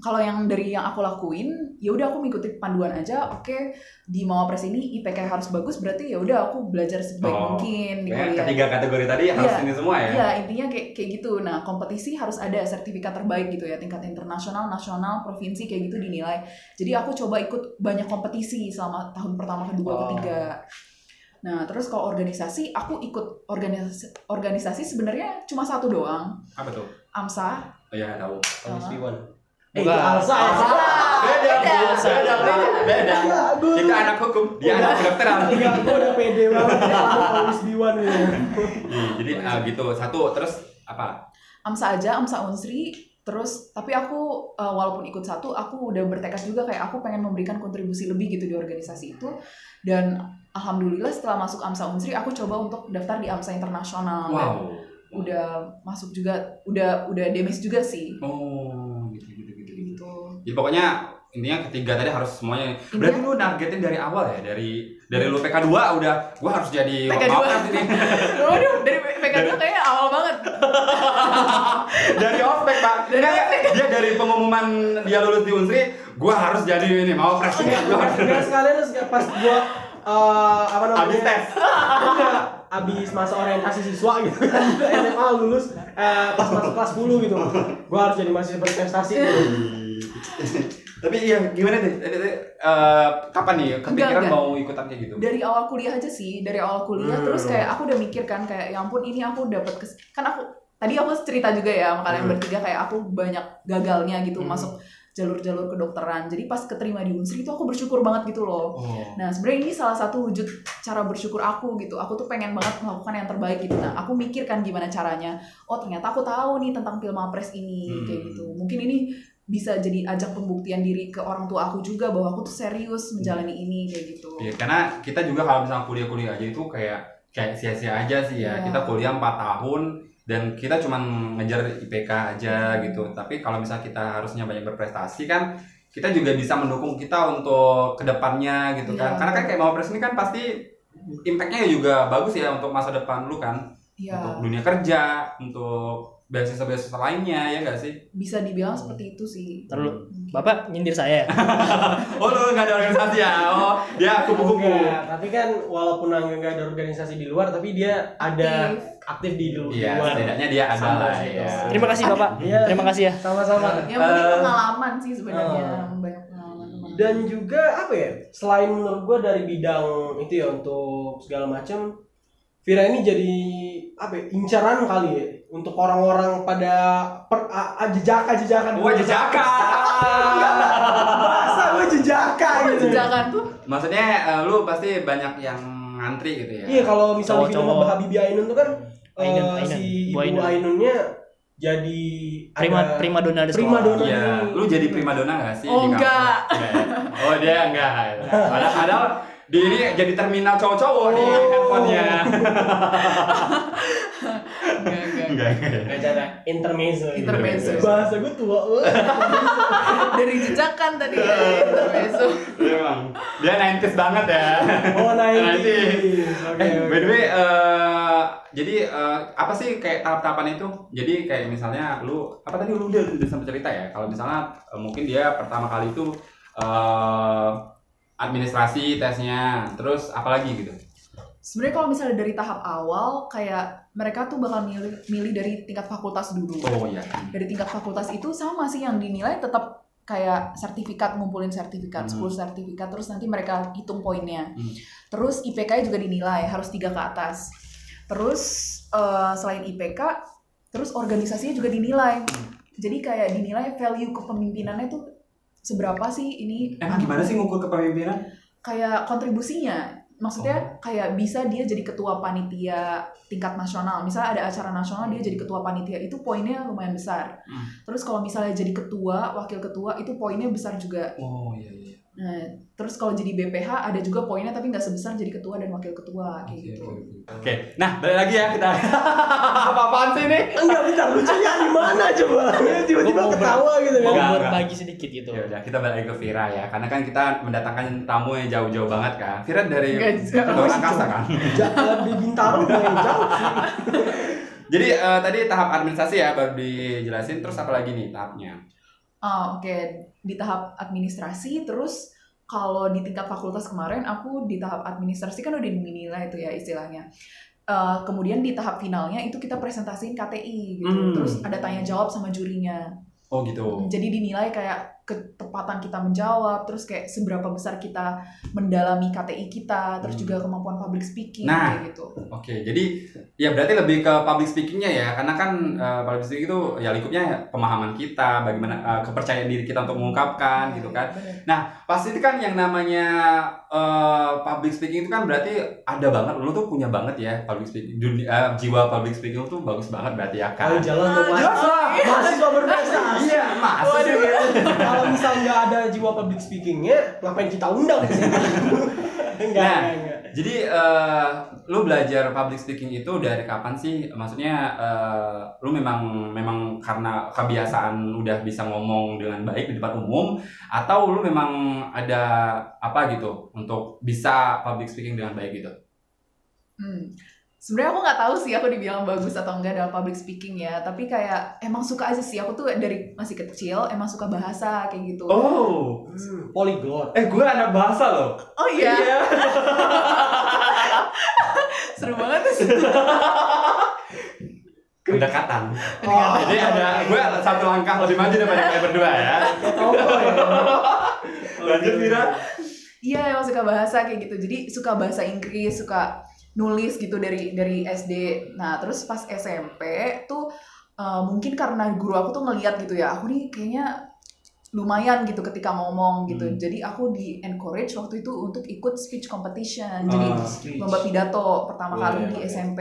[SPEAKER 4] kalau yang dari yang aku lakuin, ya udah aku mengikuti panduan aja. Oke, di Mawapres ini IPK harus bagus berarti ya udah aku belajar sebaik
[SPEAKER 2] Oh,
[SPEAKER 4] mungkin gitu ya. di
[SPEAKER 2] Kayaknya
[SPEAKER 4] kuliah.
[SPEAKER 2] ketiga kategori tadi harus
[SPEAKER 4] Iya.
[SPEAKER 2] ini semua ya.
[SPEAKER 4] Iya, intinya kayak kayak gitu. Nah, kompetisi harus ada sertifikat terbaik gitu ya, tingkat internasional, nasional, provinsi kayak gitu dinilai. Jadi aku coba ikut banyak kompetisi selama tahun pertama, kedua,
[SPEAKER 1] Wow.
[SPEAKER 4] ketiga. Nah, terus kalau organisasi, aku ikut organisasi organisasi sebenarnya cuma satu doang,
[SPEAKER 2] Apa tuh?
[SPEAKER 4] AMSA.
[SPEAKER 2] Oh, Iya, tahu.
[SPEAKER 1] Komisi Iwan. Eh, itu
[SPEAKER 3] Bukan.
[SPEAKER 1] Alsa. Alsa.
[SPEAKER 2] Beda,
[SPEAKER 4] Beda.
[SPEAKER 2] Bu. beda, Bu. beda.
[SPEAKER 1] Iya, Bu.
[SPEAKER 2] Itu anak hukum, dia anak kedokteran.
[SPEAKER 1] Iya, gua udah pede banget sama Komisi Iwan ya.
[SPEAKER 2] Iya, jadi ah, gitu. Satu, terus apa?
[SPEAKER 4] AMSA aja, AMSA Unsri. Terus, tapi aku uh, walaupun ikut satu, aku udah bertekad juga kayak aku pengen memberikan kontribusi lebih gitu di organisasi itu. Dan alhamdulillah setelah masuk AMSA Unsri, aku coba untuk daftar di AMSA Internasional. Dan
[SPEAKER 2] Wow.
[SPEAKER 4] Udah masuk juga, udah udah demis juga sih.
[SPEAKER 2] Oh, gitu, gitu, gitu, gitu.
[SPEAKER 4] Gitu.
[SPEAKER 2] Jadi pokoknya intinya ketiga tadi harus semuanya. Berarti
[SPEAKER 4] Intinya
[SPEAKER 2] lu nargetin dari awal ya dari dari lu PK2 udah gua harus jadi
[SPEAKER 4] PK2.
[SPEAKER 2] wapres ini.
[SPEAKER 4] [LAUGHS] Waduh, dari PK2 kayaknya awal banget.
[SPEAKER 2] dari ospek, Pak. Dia, dia dari pengumuman dia lulus di Unsri, gua harus jadi ini mau pres ini. Gua harus
[SPEAKER 1] Enggak sekalian Iya, terus pas gua eh, apa namanya?
[SPEAKER 2] habis tes.
[SPEAKER 1] Enggak, abis masa orientasi siswa gitu kan [LAUGHS] SMA lulus eh, pas masuk kelas 10 gitu gua harus jadi mahasiswa berprestasi gitu.
[SPEAKER 2] Tapi iya gimana deh? Tadi- tadi, eh, kapan nih kepikiran
[SPEAKER 4] enggak.
[SPEAKER 2] mau ikutan kayak gitu?
[SPEAKER 4] dari awal kuliah aja sih dari awal kuliah
[SPEAKER 1] Hmm.
[SPEAKER 4] terus kayak aku udah mikir kan kayak ya ampun ini aku dapat kes kan aku tadi aku cerita juga ya sama kalian
[SPEAKER 2] Hmm.
[SPEAKER 4] bertiga kayak aku banyak gagalnya gitu
[SPEAKER 1] Hmm.
[SPEAKER 4] masuk jalur-jalur kedokteran. Jadi pas keterima di Unsri itu aku bersyukur banget gitu loh.
[SPEAKER 2] Oh.
[SPEAKER 4] Nah, sebenarnya ini salah satu wujud cara bersyukur aku gitu. Aku tuh pengen banget melakukan yang terbaik gitu. Nah, aku mikirkan gimana caranya. Oh, ternyata aku tahu nih tentang film Apres ini
[SPEAKER 2] Hmm.
[SPEAKER 4] kayak gitu. Mungkin ini bisa jadi ajak pembuktian diri ke orang tua aku juga bahwa aku tuh serius menjalani ini kayak gitu.
[SPEAKER 2] Iya, karena kita juga kalau misalnya kuliah-kuliah aja itu kayak kayak sia-sia aja sih ya.
[SPEAKER 4] Iya.
[SPEAKER 2] Kita kuliah 4 tahun dan kita cuman ngejar IPK aja gitu. Tapi kalau misalnya kita harusnya banyak berprestasi kan kita juga bisa mendukung kita untuk kedepannya gitu kan.
[SPEAKER 4] Iya.
[SPEAKER 2] Karena kan kayak mau pres ini kan pasti impactnya juga bagus ya untuk masa depan lu kan, untuk
[SPEAKER 4] Iya,
[SPEAKER 2] dunia kerja, untuk beasiswa-beasiswa lainnya ya gak sih?
[SPEAKER 4] bisa dibilang
[SPEAKER 1] Hmm.
[SPEAKER 4] seperti itu sih.
[SPEAKER 3] Terlalu Bapak nyindir saya. ya?
[SPEAKER 2] Oh lu gak ada organisasi ya? Oh ya kupu-kupu.
[SPEAKER 1] Enggak, tapi kan walaupun Angga nggak ada organisasi di luar, tapi dia ada
[SPEAKER 4] Aktif.
[SPEAKER 1] aktif di lu- di
[SPEAKER 2] Iya,
[SPEAKER 1] luar.
[SPEAKER 2] setidaknya dia ada
[SPEAKER 1] Sama
[SPEAKER 2] lah
[SPEAKER 1] sih,
[SPEAKER 2] ya.
[SPEAKER 1] sama.
[SPEAKER 3] Terima kasih Bapak.
[SPEAKER 1] Iya,
[SPEAKER 3] Terima kasih ya.
[SPEAKER 1] sama-sama.
[SPEAKER 4] Yang penting
[SPEAKER 2] Eh.
[SPEAKER 4] pengalaman sih sebenarnya,
[SPEAKER 1] Eh.
[SPEAKER 4] banyak pengalaman teman.
[SPEAKER 1] Dan juga apa ya? Selain menurut gua dari bidang itu ya untuk segala macam, Vira ini jadi apa? Ya, incaran kali ya untuk orang-orang pada per, a, a, jejaka jejakan.
[SPEAKER 2] Wah jejaka.
[SPEAKER 1] Masa gua jejaka gitu.
[SPEAKER 4] Jejakan tuh
[SPEAKER 2] Maksudnya eh, lu pasti banyak yang ngantri gitu ya.
[SPEAKER 1] Iya kalau misalnya film
[SPEAKER 3] Cowok-cowok.
[SPEAKER 1] Mbak Habibie Ainun tuh kan eh,
[SPEAKER 3] Ainun, Ainun.
[SPEAKER 1] si Ibu
[SPEAKER 3] Bu Ainun.
[SPEAKER 1] Ainunnya jadi
[SPEAKER 3] Prima
[SPEAKER 1] ada-
[SPEAKER 3] prima donna di
[SPEAKER 1] prima
[SPEAKER 3] sekolah.
[SPEAKER 1] donna.
[SPEAKER 2] Iya, lu jadi primadona gak sih?
[SPEAKER 4] Oh,
[SPEAKER 2] di kampus?
[SPEAKER 4] enggak.
[SPEAKER 2] Enggak ya? Oh dia enggak. Padahal, padahal di ini jadi terminal cowok-cowok di
[SPEAKER 1] Oh.
[SPEAKER 2] handphonenya.
[SPEAKER 4] enggak enggak.
[SPEAKER 2] Enggak, enggak. ya.
[SPEAKER 1] Acara intermezzo. gitu.
[SPEAKER 4] Intermezzo.
[SPEAKER 1] Bahasa gue tua banget.
[SPEAKER 4] [LAUGHS] Dari jejakan tadi ya,
[SPEAKER 1] Eh.
[SPEAKER 4] intermezzo.
[SPEAKER 2] Iya, Bang. Dia 90s banget ya.
[SPEAKER 1] Oh, 90s. Oke,
[SPEAKER 2] Eh,
[SPEAKER 1] oke.
[SPEAKER 2] by the way, eh, jadi eh, apa sih kayak tahap-tahapan itu? Jadi kayak misalnya lu apa tadi lu udah udah sempat cerita ya? Kalau misalnya eh, mungkin dia pertama kali itu eh, administrasi tesnya, terus apalagi gitu?
[SPEAKER 4] Sebenarnya kalau misalnya dari tahap awal kayak mereka tuh bakal milih milih dari tingkat fakultas dulu.
[SPEAKER 2] Oh iya.
[SPEAKER 4] Dari tingkat fakultas itu sama sih yang dinilai tetap kayak sertifikat ngumpulin sertifikat
[SPEAKER 2] Hmm.
[SPEAKER 4] 10 sertifikat terus nanti mereka hitung poinnya.
[SPEAKER 2] Hmm.
[SPEAKER 4] Terus IPK juga dinilai harus tiga ke atas. Terus eh, selain IPK terus organisasinya juga dinilai.
[SPEAKER 2] Hmm.
[SPEAKER 4] Jadi kayak dinilai value kepemimpinannya tuh seberapa sih ini
[SPEAKER 2] Emang gimana sih ngukur kepemimpinan?
[SPEAKER 4] kayak kontribusinya maksudnya
[SPEAKER 2] Oh.
[SPEAKER 4] kayak bisa dia jadi ketua panitia tingkat nasional misalnya ada acara nasional dia jadi ketua panitia itu poinnya lumayan besar
[SPEAKER 2] Hmm.
[SPEAKER 4] terus kalau misalnya jadi ketua wakil ketua itu poinnya besar juga
[SPEAKER 2] Oh iya iya.
[SPEAKER 4] nah, terus kalau jadi BPH ada juga poinnya tapi nggak sebesar jadi ketua dan wakil ketua kayak gitu
[SPEAKER 2] Oke, nah balik lagi ya kita. Apa-apaan sih ini?
[SPEAKER 1] Enggak, bentar. Lucunya di mana coba? Iya, Tiba-tiba
[SPEAKER 3] Gua mau ber-
[SPEAKER 1] ketawa gitu
[SPEAKER 3] Mau
[SPEAKER 1] kan.
[SPEAKER 2] Enggak, enggak.
[SPEAKER 3] berbagi sedikit gitu.
[SPEAKER 2] Ya udah, kita balik ke Vira ya, karena kan kita mendatangkan tamu yang jauh-jauh banget kan. Vira dari
[SPEAKER 4] Enggak, enggak.
[SPEAKER 2] luar angkasa kan.
[SPEAKER 1] Jakarta di Bintaro lumayan jauh sih.
[SPEAKER 2] Jadi eh, tadi tahap administrasi ya baru dijelasin, terus apa lagi nih tahapnya?
[SPEAKER 4] Ah, oke di tahap administrasi terus kalau di tingkat fakultas kemarin aku di tahap administrasi kan udah dinilai itu ya istilahnya. Eh, kemudian di tahap finalnya itu kita presentasiin KTI gitu.
[SPEAKER 2] Hmm.
[SPEAKER 4] Terus ada tanya jawab sama jurinya.
[SPEAKER 2] Oh gitu.
[SPEAKER 4] Jadi dinilai kayak ketepatan kita menjawab, terus kayak seberapa besar kita mendalami KTI kita, terus
[SPEAKER 2] Hmm.
[SPEAKER 4] juga kemampuan public speaking
[SPEAKER 2] Nah.
[SPEAKER 4] kayak gitu.
[SPEAKER 2] Oke, jadi ya berarti lebih ke public speakingnya ya, karena kan eh, public speaking itu ya lingkupnya pemahaman kita, bagaimana eh, kepercayaan diri kita untuk mengungkapkan gitu kan.
[SPEAKER 4] Iya, Bener.
[SPEAKER 2] Pasti itu kan yang namanya eh, public speaking itu kan berarti ada banget, lu tuh punya banget ya public speaking, dunia, eh, jiwa public speaking lu tuh bagus banget berarti ya
[SPEAKER 1] Kalau
[SPEAKER 2] kan.
[SPEAKER 1] jalan ke
[SPEAKER 2] Jelas lah.
[SPEAKER 1] mahasiswa berprestasi.
[SPEAKER 2] Iya, masa sih?
[SPEAKER 1] Kalau misal nggak ada jiwa public speakingnya, ngapain kita undang sih? Enggak,
[SPEAKER 2] Nah.
[SPEAKER 1] enggak, enggak.
[SPEAKER 2] Jadi eh, lu belajar public speaking itu dari kapan sih? Maksudnya eh, lu memang memang karena kebiasaan udah bisa ngomong dengan baik di depan umum atau lu memang ada apa gitu untuk bisa public speaking dengan baik gitu?
[SPEAKER 4] Hmm. Sebenarnya aku nggak tahu sih aku dibilang bagus atau enggak dalam public speaking ya, tapi kayak emang suka aja sih aku tuh dari masih kecil emang suka bahasa kayak gitu.
[SPEAKER 2] Oh,
[SPEAKER 1] Hmm, Polyglot.
[SPEAKER 2] eh gue anak bahasa loh.
[SPEAKER 4] Oh iya, [LAUGHS] seru banget sih.
[SPEAKER 2] Kedekatan.
[SPEAKER 1] Oh.
[SPEAKER 2] Jadi ada gue satu langkah lebih maju daripada kalian berdua ya.
[SPEAKER 1] Tau kok ya.
[SPEAKER 2] Lanjut Mira.
[SPEAKER 4] Iya emang suka bahasa kayak gitu. Jadi suka bahasa Inggris, suka nulis gitu dari dari SD. Nah terus pas SMP tuh eh, mungkin karena guru aku tuh ngeliat gitu ya, aku nih kayaknya lumayan gitu ketika ngomong gitu. Jadi aku di encourage waktu itu untuk ikut speech competition. Jadi
[SPEAKER 2] Ah.
[SPEAKER 4] lomba pidato pertama
[SPEAKER 1] Iya,
[SPEAKER 4] kali
[SPEAKER 1] iya,
[SPEAKER 4] di
[SPEAKER 1] iya.
[SPEAKER 4] SMP.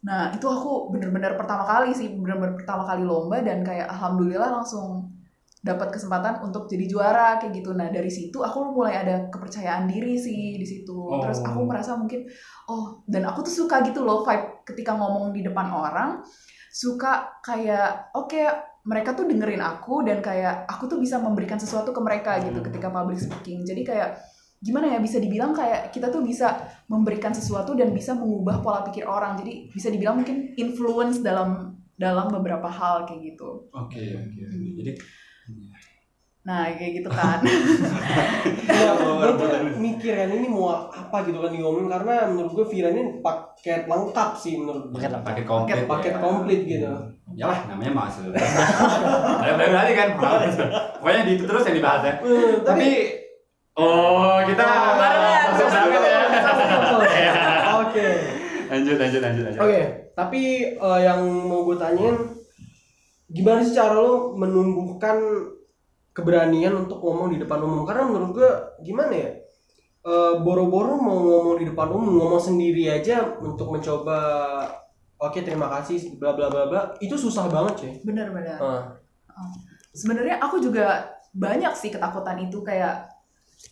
[SPEAKER 4] Nah, itu aku bener-bener pertama kali sih, bener-bener pertama kali lomba dan kayak alhamdulillah langsung dapat kesempatan untuk jadi juara kayak gitu. Nah, dari situ aku mulai ada kepercayaan diri sih di situ. Terus
[SPEAKER 2] Oh.
[SPEAKER 4] aku merasa mungkin oh, dan aku tuh suka gitu loh vibe ketika ngomong di depan orang, suka kayak oke mereka tuh dengerin aku dan kayak aku tuh bisa memberikan sesuatu ke mereka gitu
[SPEAKER 1] Hmm.
[SPEAKER 4] ketika public speaking. Jadi kayak gimana ya bisa dibilang kayak kita tuh bisa memberikan sesuatu dan bisa mengubah pola pikir orang. Jadi bisa dibilang mungkin influence dalam dalam beberapa hal kayak gitu.
[SPEAKER 2] Oke, oke. Jadi
[SPEAKER 4] Nah, kayak gitu kan.
[SPEAKER 1] Iya,
[SPEAKER 2] Oh,
[SPEAKER 1] gue tuh
[SPEAKER 2] baru-baru.
[SPEAKER 1] mikir kan ini mau apa gitu kan diomongin karena menurut gue Vira ini paket lengkap sih menurut gue.
[SPEAKER 3] Paket lengkap.
[SPEAKER 2] paket komplit. ya.
[SPEAKER 1] Paket komplit gitu.
[SPEAKER 2] Ya lah, namanya mahasiswa. Ada benar tadi kan. Pokoknya di terus yang dibahas ya.
[SPEAKER 1] Eh,
[SPEAKER 2] Tapi oh, kita
[SPEAKER 1] Oh,
[SPEAKER 4] barengan.
[SPEAKER 2] masuk banget ya.
[SPEAKER 1] Oke.
[SPEAKER 2] Lanjut, lanjut, lanjut, lanjut.
[SPEAKER 1] Oke, tapi eh, yang mau gue tanyain gimana sih cara lo menumbuhkan keberanian untuk ngomong di depan umum? Karena menurut gue gimana ya? Eh, boro-boro mau ngomong di depan umum, ngomong sendiri aja untuk mencoba oke terima kasih bla bla bla bla itu susah banget cuy.
[SPEAKER 4] Bener-bener.
[SPEAKER 1] Ah.
[SPEAKER 4] Oh. sebenarnya aku juga banyak sih ketakutan itu kayak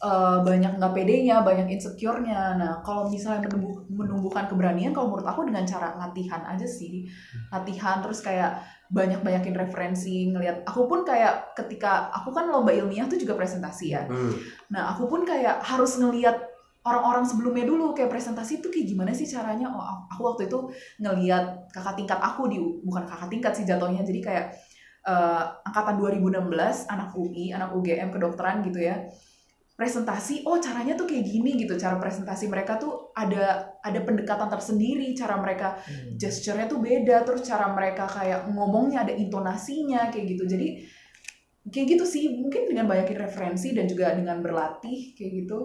[SPEAKER 4] eh, banyak nggak pedenya, banyak insecure-nya. Nah, kalau misalnya menumbuh- menumbuhkan keberanian, kalau menurut aku dengan cara latihan aja sih, latihan terus kayak banyak-banyakin referensi, ngelihat. Aku pun kayak ketika aku kan lomba ilmiah tuh juga presentasi ya. Nah, aku pun kayak harus ngeliat orang-orang sebelumnya dulu kayak presentasi itu kayak gimana sih caranya. Oh, aku- aku waktu itu ngeliat kakak tingkat aku di bukan kakak tingkat sih jatuhnya. Jadi kayak eh, angkatan 2016 anak UI, anak UGM kedokteran gitu ya. Presentasi, oh caranya tuh kayak gini gitu. Cara presentasi mereka tuh ada ada pendekatan tersendiri, cara mereka gesture-nya tuh beda, terus cara mereka kayak ngomongnya ada intonasinya kayak gitu. Jadi kayak gitu sih, mungkin dengan banyakin referensi dan juga dengan berlatih kayak gitu,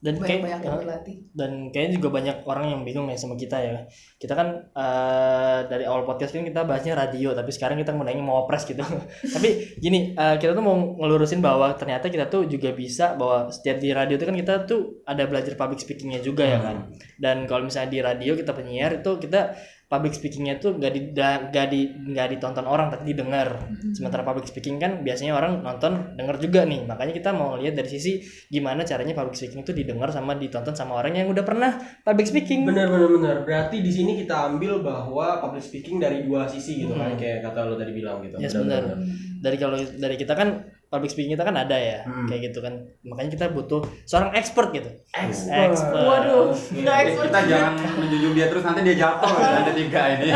[SPEAKER 3] dan
[SPEAKER 4] banyak-banyak
[SPEAKER 3] kayak
[SPEAKER 4] berlatih.
[SPEAKER 3] dan kayaknya juga banyak orang yang bingung ya sama kita ya kita kan eh, dari awal podcast kan kita bahasnya radio tapi sekarang kita ngundangnya mau opres gitu [LAUGHS] tapi gini eh, kita tuh mau ngelurusin bahwa ternyata kita tuh juga bisa bahwa setiap di radio itu kan kita tuh ada belajar public speakingnya juga ya kan dan kalau misalnya di radio kita penyiar itu kita public speakingnya tuh gak di da- gak di gak ditonton orang tapi didengar sementara public speaking kan biasanya orang nonton denger juga nih makanya kita mau lihat dari sisi gimana caranya public speaking itu didengar sama ditonton sama orang yang udah pernah public speaking
[SPEAKER 1] Bener bener bener. Berarti di sini kita ambil bahwa public speaking dari dua sisi gitu kan
[SPEAKER 3] Hmm.
[SPEAKER 1] kayak kata lo tadi bilang gitu.
[SPEAKER 3] Yes,
[SPEAKER 1] Bener,
[SPEAKER 3] benar.
[SPEAKER 1] bener.
[SPEAKER 3] dari kalau dari kita kan public speaking kita kan ada ya
[SPEAKER 2] Hmm.
[SPEAKER 3] kayak gitu kan makanya kita butuh seorang expert gitu
[SPEAKER 1] Expert.
[SPEAKER 3] Expert.
[SPEAKER 4] Waduh,
[SPEAKER 1] Oke.
[SPEAKER 4] nggak
[SPEAKER 2] Eh, kita jangan menjunjung dia terus nanti dia jatuh loh ada tiga ini. [LAUGHS]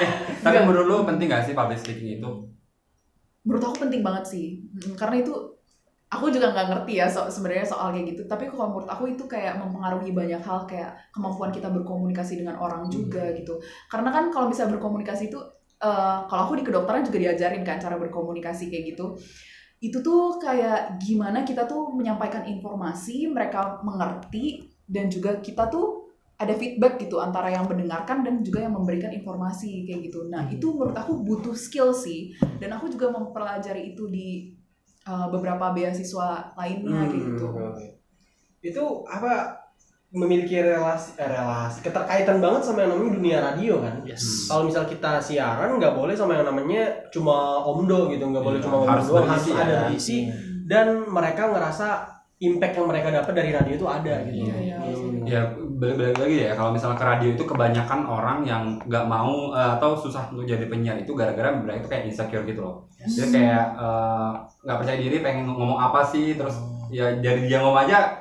[SPEAKER 2] Eh, tapi menurut lu penting gak sih public speaking itu?
[SPEAKER 4] Menurut aku penting banget sih, Mm, karena itu aku juga nggak ngerti ya so, sebenarnya soal kayak gitu. Tapi kalau menurut aku itu kayak mempengaruhi banyak hal kayak kemampuan kita berkomunikasi dengan
[SPEAKER 1] Hmm.
[SPEAKER 4] orang juga gitu. Karena kan kalau bisa berkomunikasi itu, eh, kalau aku di kedokteran juga diajarin kan cara berkomunikasi kayak gitu. itu tuh kayak gimana kita tuh menyampaikan informasi, mereka mengerti, dan juga kita tuh ada feedback gitu antara yang mendengarkan dan juga yang memberikan informasi kayak gitu.
[SPEAKER 1] Hmm.
[SPEAKER 4] Nah itu menurut aku butuh skill sih, dan aku juga mempelajari itu di uh, beberapa beasiswa lainnya kayak
[SPEAKER 1] Hmm,
[SPEAKER 4] gitu.
[SPEAKER 1] oke, oke. Itu apa memiliki relasi eh, relasi keterkaitan banget sama yang namanya dunia radio kan?
[SPEAKER 2] Iya.
[SPEAKER 3] yes
[SPEAKER 1] Kalau misal kita siaran nggak boleh sama yang namanya cuma omdo gitu, nggak boleh
[SPEAKER 2] Iya,
[SPEAKER 1] cuma omdo
[SPEAKER 2] harus
[SPEAKER 1] doang, harus
[SPEAKER 2] berisi ya.
[SPEAKER 1] ada berisi dan mereka ngerasa impact yang mereka dapat dari radio itu ada gitu.
[SPEAKER 4] Iya, iya,
[SPEAKER 1] Hmm.
[SPEAKER 2] Ya balik balik lagi ya kalau misalnya ke radio itu kebanyakan orang yang nggak mau eh, atau susah untuk jadi penyiar itu gara-gara mereka itu kayak insecure gitu loh. Jadi kayak eh, nggak percaya diri pengen ngomong apa sih terus ya dari dia ngomong aja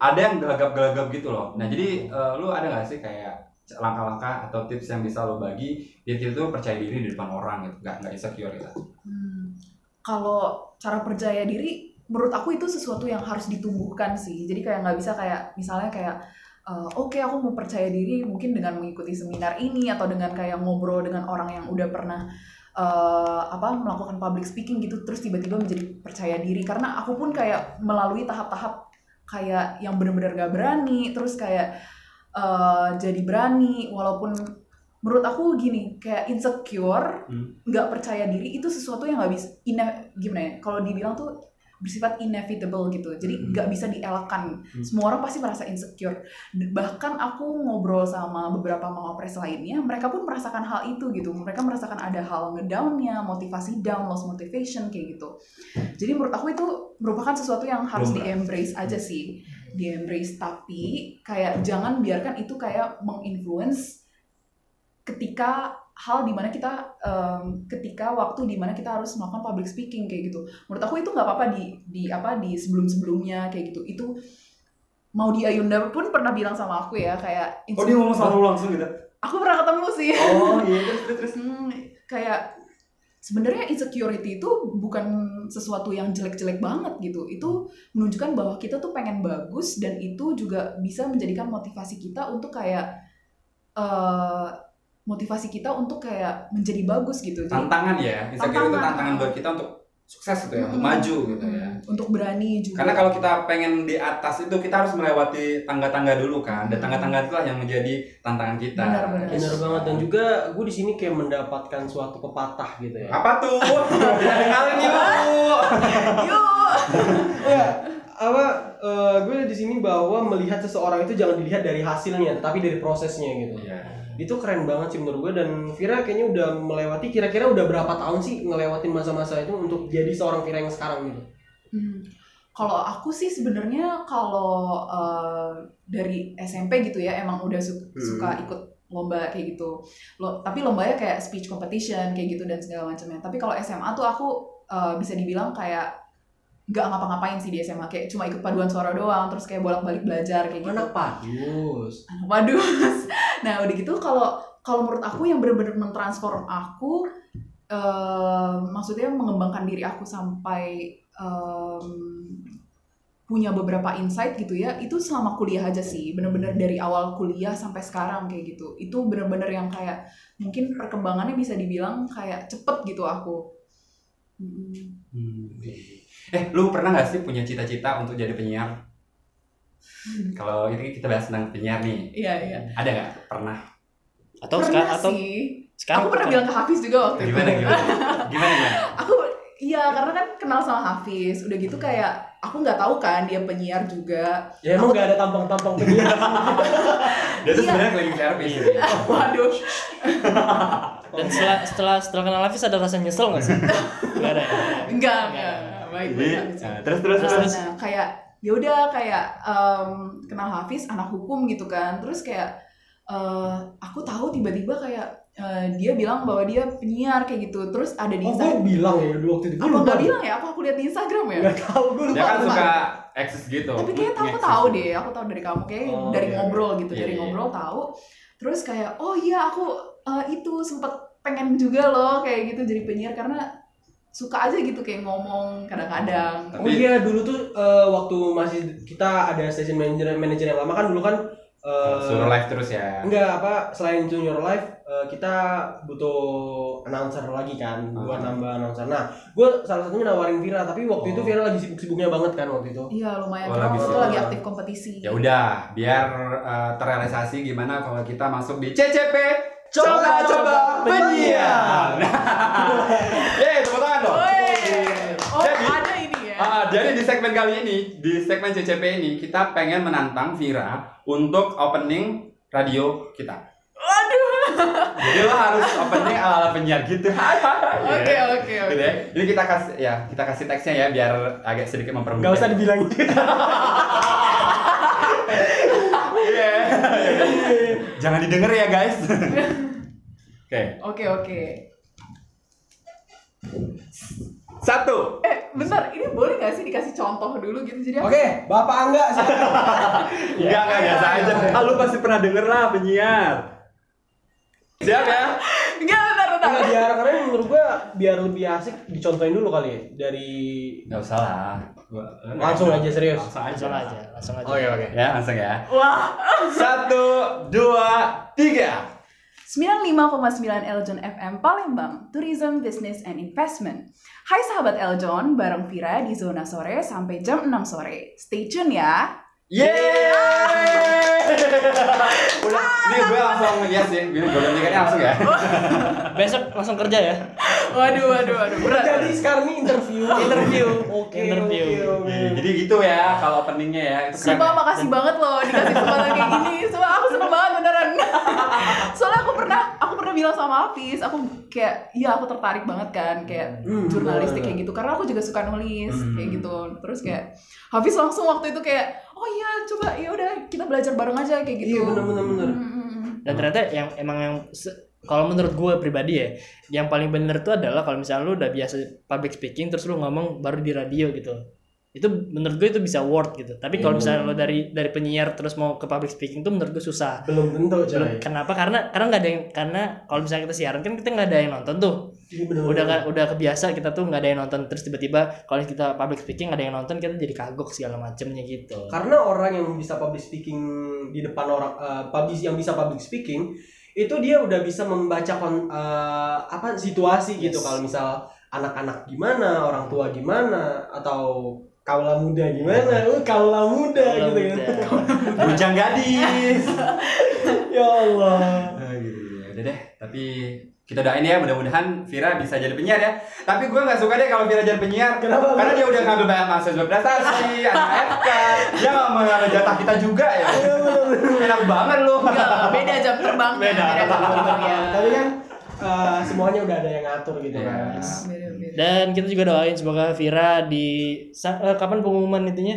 [SPEAKER 2] ada yang gelagap-gelagap gitu loh. Nah jadi eh, lu ada nggak sih kayak langkah-langkah atau tips yang bisa lo bagi dia itu percaya diri di depan orang gitu nggak nggak insecure gitu.
[SPEAKER 4] Hmm, kalau cara percaya diri, menurut aku itu sesuatu yang harus ditumbuhkan sih. Jadi kayak nggak bisa kayak misalnya kayak eh, oke aku mau percaya diri mungkin dengan mengikuti seminar ini atau dengan kayak ngobrol dengan orang yang udah pernah eh, apa melakukan public speaking gitu terus tiba-tiba menjadi percaya diri karena aku pun kayak melalui tahap-tahap kayak yang benar-benar gak berani terus kayak eh, jadi berani walaupun menurut aku gini kayak insecure
[SPEAKER 2] Hmm.
[SPEAKER 4] nggak percaya diri itu sesuatu yang nggak bisa ine- gimana ya kalau dibilang tuh bersifat inevitable gitu jadi
[SPEAKER 2] Hmm.
[SPEAKER 4] nggak bisa dielakkan
[SPEAKER 2] Hmm.
[SPEAKER 4] semua orang pasti merasa insecure D- bahkan aku ngobrol sama beberapa mawapres lainnya mereka pun merasakan hal itu gitu mereka merasakan ada hal ngedownnya motivasi down loss motivation kayak gitu jadi menurut aku itu merupakan sesuatu yang harus
[SPEAKER 2] Lumrah.
[SPEAKER 4] di embrace aja sih di embrace tapi kayak jangan biarkan itu kayak menginfluence ketika hal dimana kita em, ketika waktu dimana kita harus melakukan public speaking kayak gitu menurut aku itu nggak apa-apa di di apa di sebelum sebelumnya kayak gitu itu mau di Ayunda pun pernah bilang sama aku ya kayak
[SPEAKER 2] Oh dia ngomong sama lu langsung gitu?
[SPEAKER 4] aku pernah ketemu sih
[SPEAKER 2] Oh iya terus terus terus.
[SPEAKER 4] Hmm, kayak sebenarnya insecurity itu bukan sesuatu yang jelek-jelek banget gitu. Itu menunjukkan bahwa kita tuh pengen bagus dan itu juga bisa menjadikan motivasi kita untuk kayak eh, motivasi kita untuk kayak menjadi bagus gitu. Jadi
[SPEAKER 2] Tantangan ya, insecure itu
[SPEAKER 4] Tantangan.
[SPEAKER 2] tantangan buat kita untuk sukses gitu ya, untuk
[SPEAKER 4] Mm.
[SPEAKER 2] maju gitu ya.
[SPEAKER 4] untuk berani juga.
[SPEAKER 2] Karena kalau kita pengen di atas itu kita harus melewati tangga-tangga dulu kan, dan tangga-tangga itulah yang menjadi tantangan kita.
[SPEAKER 4] Benar, benar.
[SPEAKER 1] Bener banget dan juga gue di sini kayak mendapatkan suatu pepatah gitu ya.
[SPEAKER 2] Apa tuh? Kita dengerin
[SPEAKER 4] [LAUGHS]
[SPEAKER 2] yuk.
[SPEAKER 4] Yuk!
[SPEAKER 1] Iya. Apa eh, gue di sini bahwa melihat seseorang itu jangan dilihat dari hasilnya, tapi dari prosesnya gitu.
[SPEAKER 2] Iya.
[SPEAKER 1] Itu keren banget sih menurut gue dan Vira kayaknya udah melewati kira-kira udah berapa tahun sih ngelewatin masa-masa itu untuk jadi seorang Vira yang sekarang gitu.
[SPEAKER 4] Hmm. Kalau aku sih sebenarnya kalau eh, dari SMP gitu ya emang udah su-
[SPEAKER 1] Hmm.
[SPEAKER 4] suka ikut lomba kayak gitu. Lo, tapi lombanya kayak speech competition kayak gitu dan segala macamnya. Tapi kalau SMA tuh aku eh, bisa dibilang kayak nggak ngapa-ngapain sih di SMA kayak cuma ikut paduan suara doang terus kayak bolak-balik belajar kayak gitu.
[SPEAKER 1] Anak padus.
[SPEAKER 4] Anak padus. Nah, udah gitu kalau kalau menurut aku yang benar-benar mentransform aku eh, maksudnya mengembangkan diri aku sampai em, punya beberapa insight gitu ya, itu selama kuliah aja sih. Bener-bener dari awal kuliah sampai sekarang kayak gitu. Itu bener-bener yang kayak mungkin perkembangannya bisa dibilang kayak cepet gitu aku. Mm-mm.
[SPEAKER 2] Hmm. Eh, lu pernah nggak sih punya cita-cita untuk jadi penyiar? Kalau ini kita bahas tentang penyiar nih, Ya,
[SPEAKER 4] Iya, iya.
[SPEAKER 2] ada nggak? Pernah?
[SPEAKER 3] atau sekarang
[SPEAKER 4] pernah
[SPEAKER 3] atau
[SPEAKER 4] sih.
[SPEAKER 3] sekarang
[SPEAKER 4] aku pernah bilang ke Hafiz juga
[SPEAKER 2] Oh.
[SPEAKER 4] waktu itu.
[SPEAKER 2] Gimana gimana? Gimana gimana?
[SPEAKER 4] aku iya karena kan kenal sama Hafiz udah gitu kayak aku nggak tahu kan dia penyiar juga [LAUGHS]
[SPEAKER 1] Ya emang gak ada tampang-tampang penyiar.
[SPEAKER 2] Dia tuh
[SPEAKER 4] Iya.
[SPEAKER 2] sebenarnya cleaning service.
[SPEAKER 4] waduh
[SPEAKER 3] dan setelah setelah setelah kenal Hafiz ada rasa nyesel
[SPEAKER 4] [LAUGHS]
[SPEAKER 3] nggak sih nggak ada ya?
[SPEAKER 4] enggak enggak baik
[SPEAKER 2] Jadi,
[SPEAKER 4] baik Hafiz.
[SPEAKER 2] eh, terus terus
[SPEAKER 3] Terus,
[SPEAKER 2] terus.
[SPEAKER 3] terus.
[SPEAKER 4] nah kayak ya udah kayak em, kenal Hafiz anak hukum gitu kan terus kayak eh, aku tahu tiba-tiba kayak eh, dia bilang bahwa dia penyiar kayak gitu terus ada di
[SPEAKER 1] Oh gue
[SPEAKER 4] Instagram
[SPEAKER 1] bilang ya dulu waktu itu. Gue
[SPEAKER 4] apa
[SPEAKER 1] lupa.
[SPEAKER 4] nggak bilang ya apa aku lihat di Instagram ya
[SPEAKER 1] Gak tau gue
[SPEAKER 2] Dia
[SPEAKER 1] lupa.
[SPEAKER 2] kan
[SPEAKER 4] Lupa,
[SPEAKER 2] suka eksis gitu.
[SPEAKER 4] tapi kayak aku
[SPEAKER 2] Nge-eksis.
[SPEAKER 4] tahu deh aku tahu dari kamu kayak
[SPEAKER 1] Oh,
[SPEAKER 4] dari
[SPEAKER 1] iya,
[SPEAKER 4] ngobrol gitu
[SPEAKER 2] Iya,
[SPEAKER 4] dari
[SPEAKER 2] iya.
[SPEAKER 4] ngobrol tahu terus kayak oh iya aku eh, itu sempet pengen juga loh kayak gitu jadi penyiar karena suka aja gitu kayak ngomong kadang-kadang
[SPEAKER 1] Oh iya dulu tuh eh, waktu masih kita ada station manager manager yang lama kan dulu kan eh,
[SPEAKER 2] gitu. Suruh live terus ya.
[SPEAKER 1] enggak apa selain junior live eh, kita butuh announcer lagi kan buat
[SPEAKER 2] Ah.
[SPEAKER 1] nambah announcer. Nah, gue salah satunya nawarin Vira tapi waktu itu
[SPEAKER 2] Oh.
[SPEAKER 1] Vira lagi sibuk-sibuknya banget kan waktu itu.
[SPEAKER 4] iya lumayan
[SPEAKER 2] Oh,
[SPEAKER 4] karena
[SPEAKER 2] lagi
[SPEAKER 4] waktu itu
[SPEAKER 1] sibuk.
[SPEAKER 4] lagi aktif kompetisi
[SPEAKER 2] Ya udah, biar eh, terrealisasi gimana kalau kita masuk di CCP
[SPEAKER 1] Coba-coba penyiar.
[SPEAKER 2] [LAUGHS] Yeay, tepuk tangan dong.
[SPEAKER 4] Woi. oh
[SPEAKER 2] Jadi-
[SPEAKER 4] ada ini ya
[SPEAKER 2] Ah, jadi di segmen kali ini, di segmen CCP ini kita pengen menantang Vira untuk opening radio kita. Waduh. Jadi lo harus opening ala penyiar gitu. [LAUGHS]
[SPEAKER 4] oke oke
[SPEAKER 2] Gitu
[SPEAKER 4] oke
[SPEAKER 2] ya. Jadi kita kasih ya, kita kasih teksnya ya biar agak sedikit mempermudah.
[SPEAKER 1] Gak usah dibilangin.
[SPEAKER 2] Iya. [LAUGHS] Jangan didengar ya, [LAUGHS] guys. Oke.
[SPEAKER 4] oke oke
[SPEAKER 2] Satu.
[SPEAKER 4] eh bentar ini boleh nggak sih dikasih contoh dulu gitu jadi aku-
[SPEAKER 1] [LAUGHS] Oke, Bapak Angga silakan.
[SPEAKER 2] Enggak, enggak biasa aja. Iya. Ah, lu pasti pernah denger lah penyiar. Siap ya?
[SPEAKER 4] nggak bentar bentar
[SPEAKER 1] Enggak biar karena menurut gue biar lebih asik dicontohin dulu kali ya dari
[SPEAKER 2] Enggak usah lah.
[SPEAKER 1] langsung aja serius.
[SPEAKER 2] Langsung aja.
[SPEAKER 3] langsung aja langsung
[SPEAKER 4] Oh,
[SPEAKER 3] aja
[SPEAKER 4] iya,
[SPEAKER 1] oke.
[SPEAKER 2] Ya, langsung ya.
[SPEAKER 4] wah
[SPEAKER 2] Satu, dua, tiga.
[SPEAKER 4] 95,9 Eljon FM Palembang, Tourism, Business, and Investment. Hai sahabat Eljon, bareng Vira di Zona Sore sampai jam 6 sore. Stay tune ya!
[SPEAKER 2] Yeay! Udah, ini gue langsung yes ya. Gue udah mikirnya langsung ya.
[SPEAKER 3] Besok langsung kerja ya.
[SPEAKER 4] Waduh, waduh, waduh. Berat.
[SPEAKER 1] Jadi sekarang ini interview.
[SPEAKER 3] Interview.
[SPEAKER 1] Oke.
[SPEAKER 3] Interview.
[SPEAKER 1] oke, oke.
[SPEAKER 2] Iya, Jadi gitu ya kalau openingnya ya. Itu keren
[SPEAKER 4] Sumpah
[SPEAKER 2] ya.
[SPEAKER 4] makasih banget loh dikasih kesempatan kayak gini. Sumpah aku seneng banget beneran. Soalnya aku pernah aku pernah bilang sama Apis, aku kayak iya aku tertarik banget kan kayak
[SPEAKER 1] Hmm, bener.
[SPEAKER 4] jurnalistik kayak gitu karena aku juga suka nulis
[SPEAKER 2] Hmm.
[SPEAKER 4] kayak gitu. Terus kayak Hafiz langsung waktu itu kayak oh iya coba ya udah kita belajar bareng aja kayak gitu.
[SPEAKER 1] Iya benar benar benar.
[SPEAKER 4] Mm, mm, mm.
[SPEAKER 3] Dan ternyata yang emang yang se- kalau menurut gue pribadi ya, yang paling bener tuh adalah kalau misalnya lu udah biasa public speaking terus lu ngomong baru di radio gitu. Itu menurut gue itu bisa word gitu. Tapi kalau misalnya lu dari dari penyiar terus mau ke public speaking tuh menurut gue susah.
[SPEAKER 1] Belum tentu coy.
[SPEAKER 3] Belum- Kenapa? Karena karena nggak ada yang karena kalau misalnya kita siaran kan kita nggak ada yang nonton tuh.
[SPEAKER 1] Iya benar.
[SPEAKER 3] Udah kan udah kebiasa kita tuh nggak ada yang nonton terus tiba-tiba kalau kita public speaking nggak ada yang nonton kita jadi kagok segala macemnya gitu.
[SPEAKER 1] Karena orang yang bisa public speaking di depan orang eh, public yang bisa public speaking itu dia udah bisa membaca kon, eh, apa situasi gitu
[SPEAKER 3] Yes.
[SPEAKER 1] kalau misal anak-anak gimana, orang tua gimana atau kaula muda gimana. Uh, kaula muda
[SPEAKER 3] Kalau
[SPEAKER 1] gitu kan.
[SPEAKER 3] udah-
[SPEAKER 2] Bujang gadis.
[SPEAKER 1] [LAUGHS] Ya Allah.
[SPEAKER 2] Nah, gitu ya. Udah deh, tapi kita doain ya mudah-mudahan Vira bisa jadi penyiar ya. Tapi gue nggak suka deh kalau Vira jadi penyiar.
[SPEAKER 1] Kenapa?
[SPEAKER 2] Karena dia udah ngambil banyak mahasiswa prestasi, anak FK, dia nggak mengambil jatah kita juga ya. Enak banget lu.
[SPEAKER 4] Enggak, beda jam terbang. kan,
[SPEAKER 2] Beda.
[SPEAKER 4] jam terbangnya.
[SPEAKER 1] Tapi kan eh, semuanya udah ada yang ngatur gitu kan.
[SPEAKER 2] Yes.
[SPEAKER 4] Beda, beda.
[SPEAKER 3] Dan kita juga doain semoga Vira di sa- eh, kapan pengumuman intinya?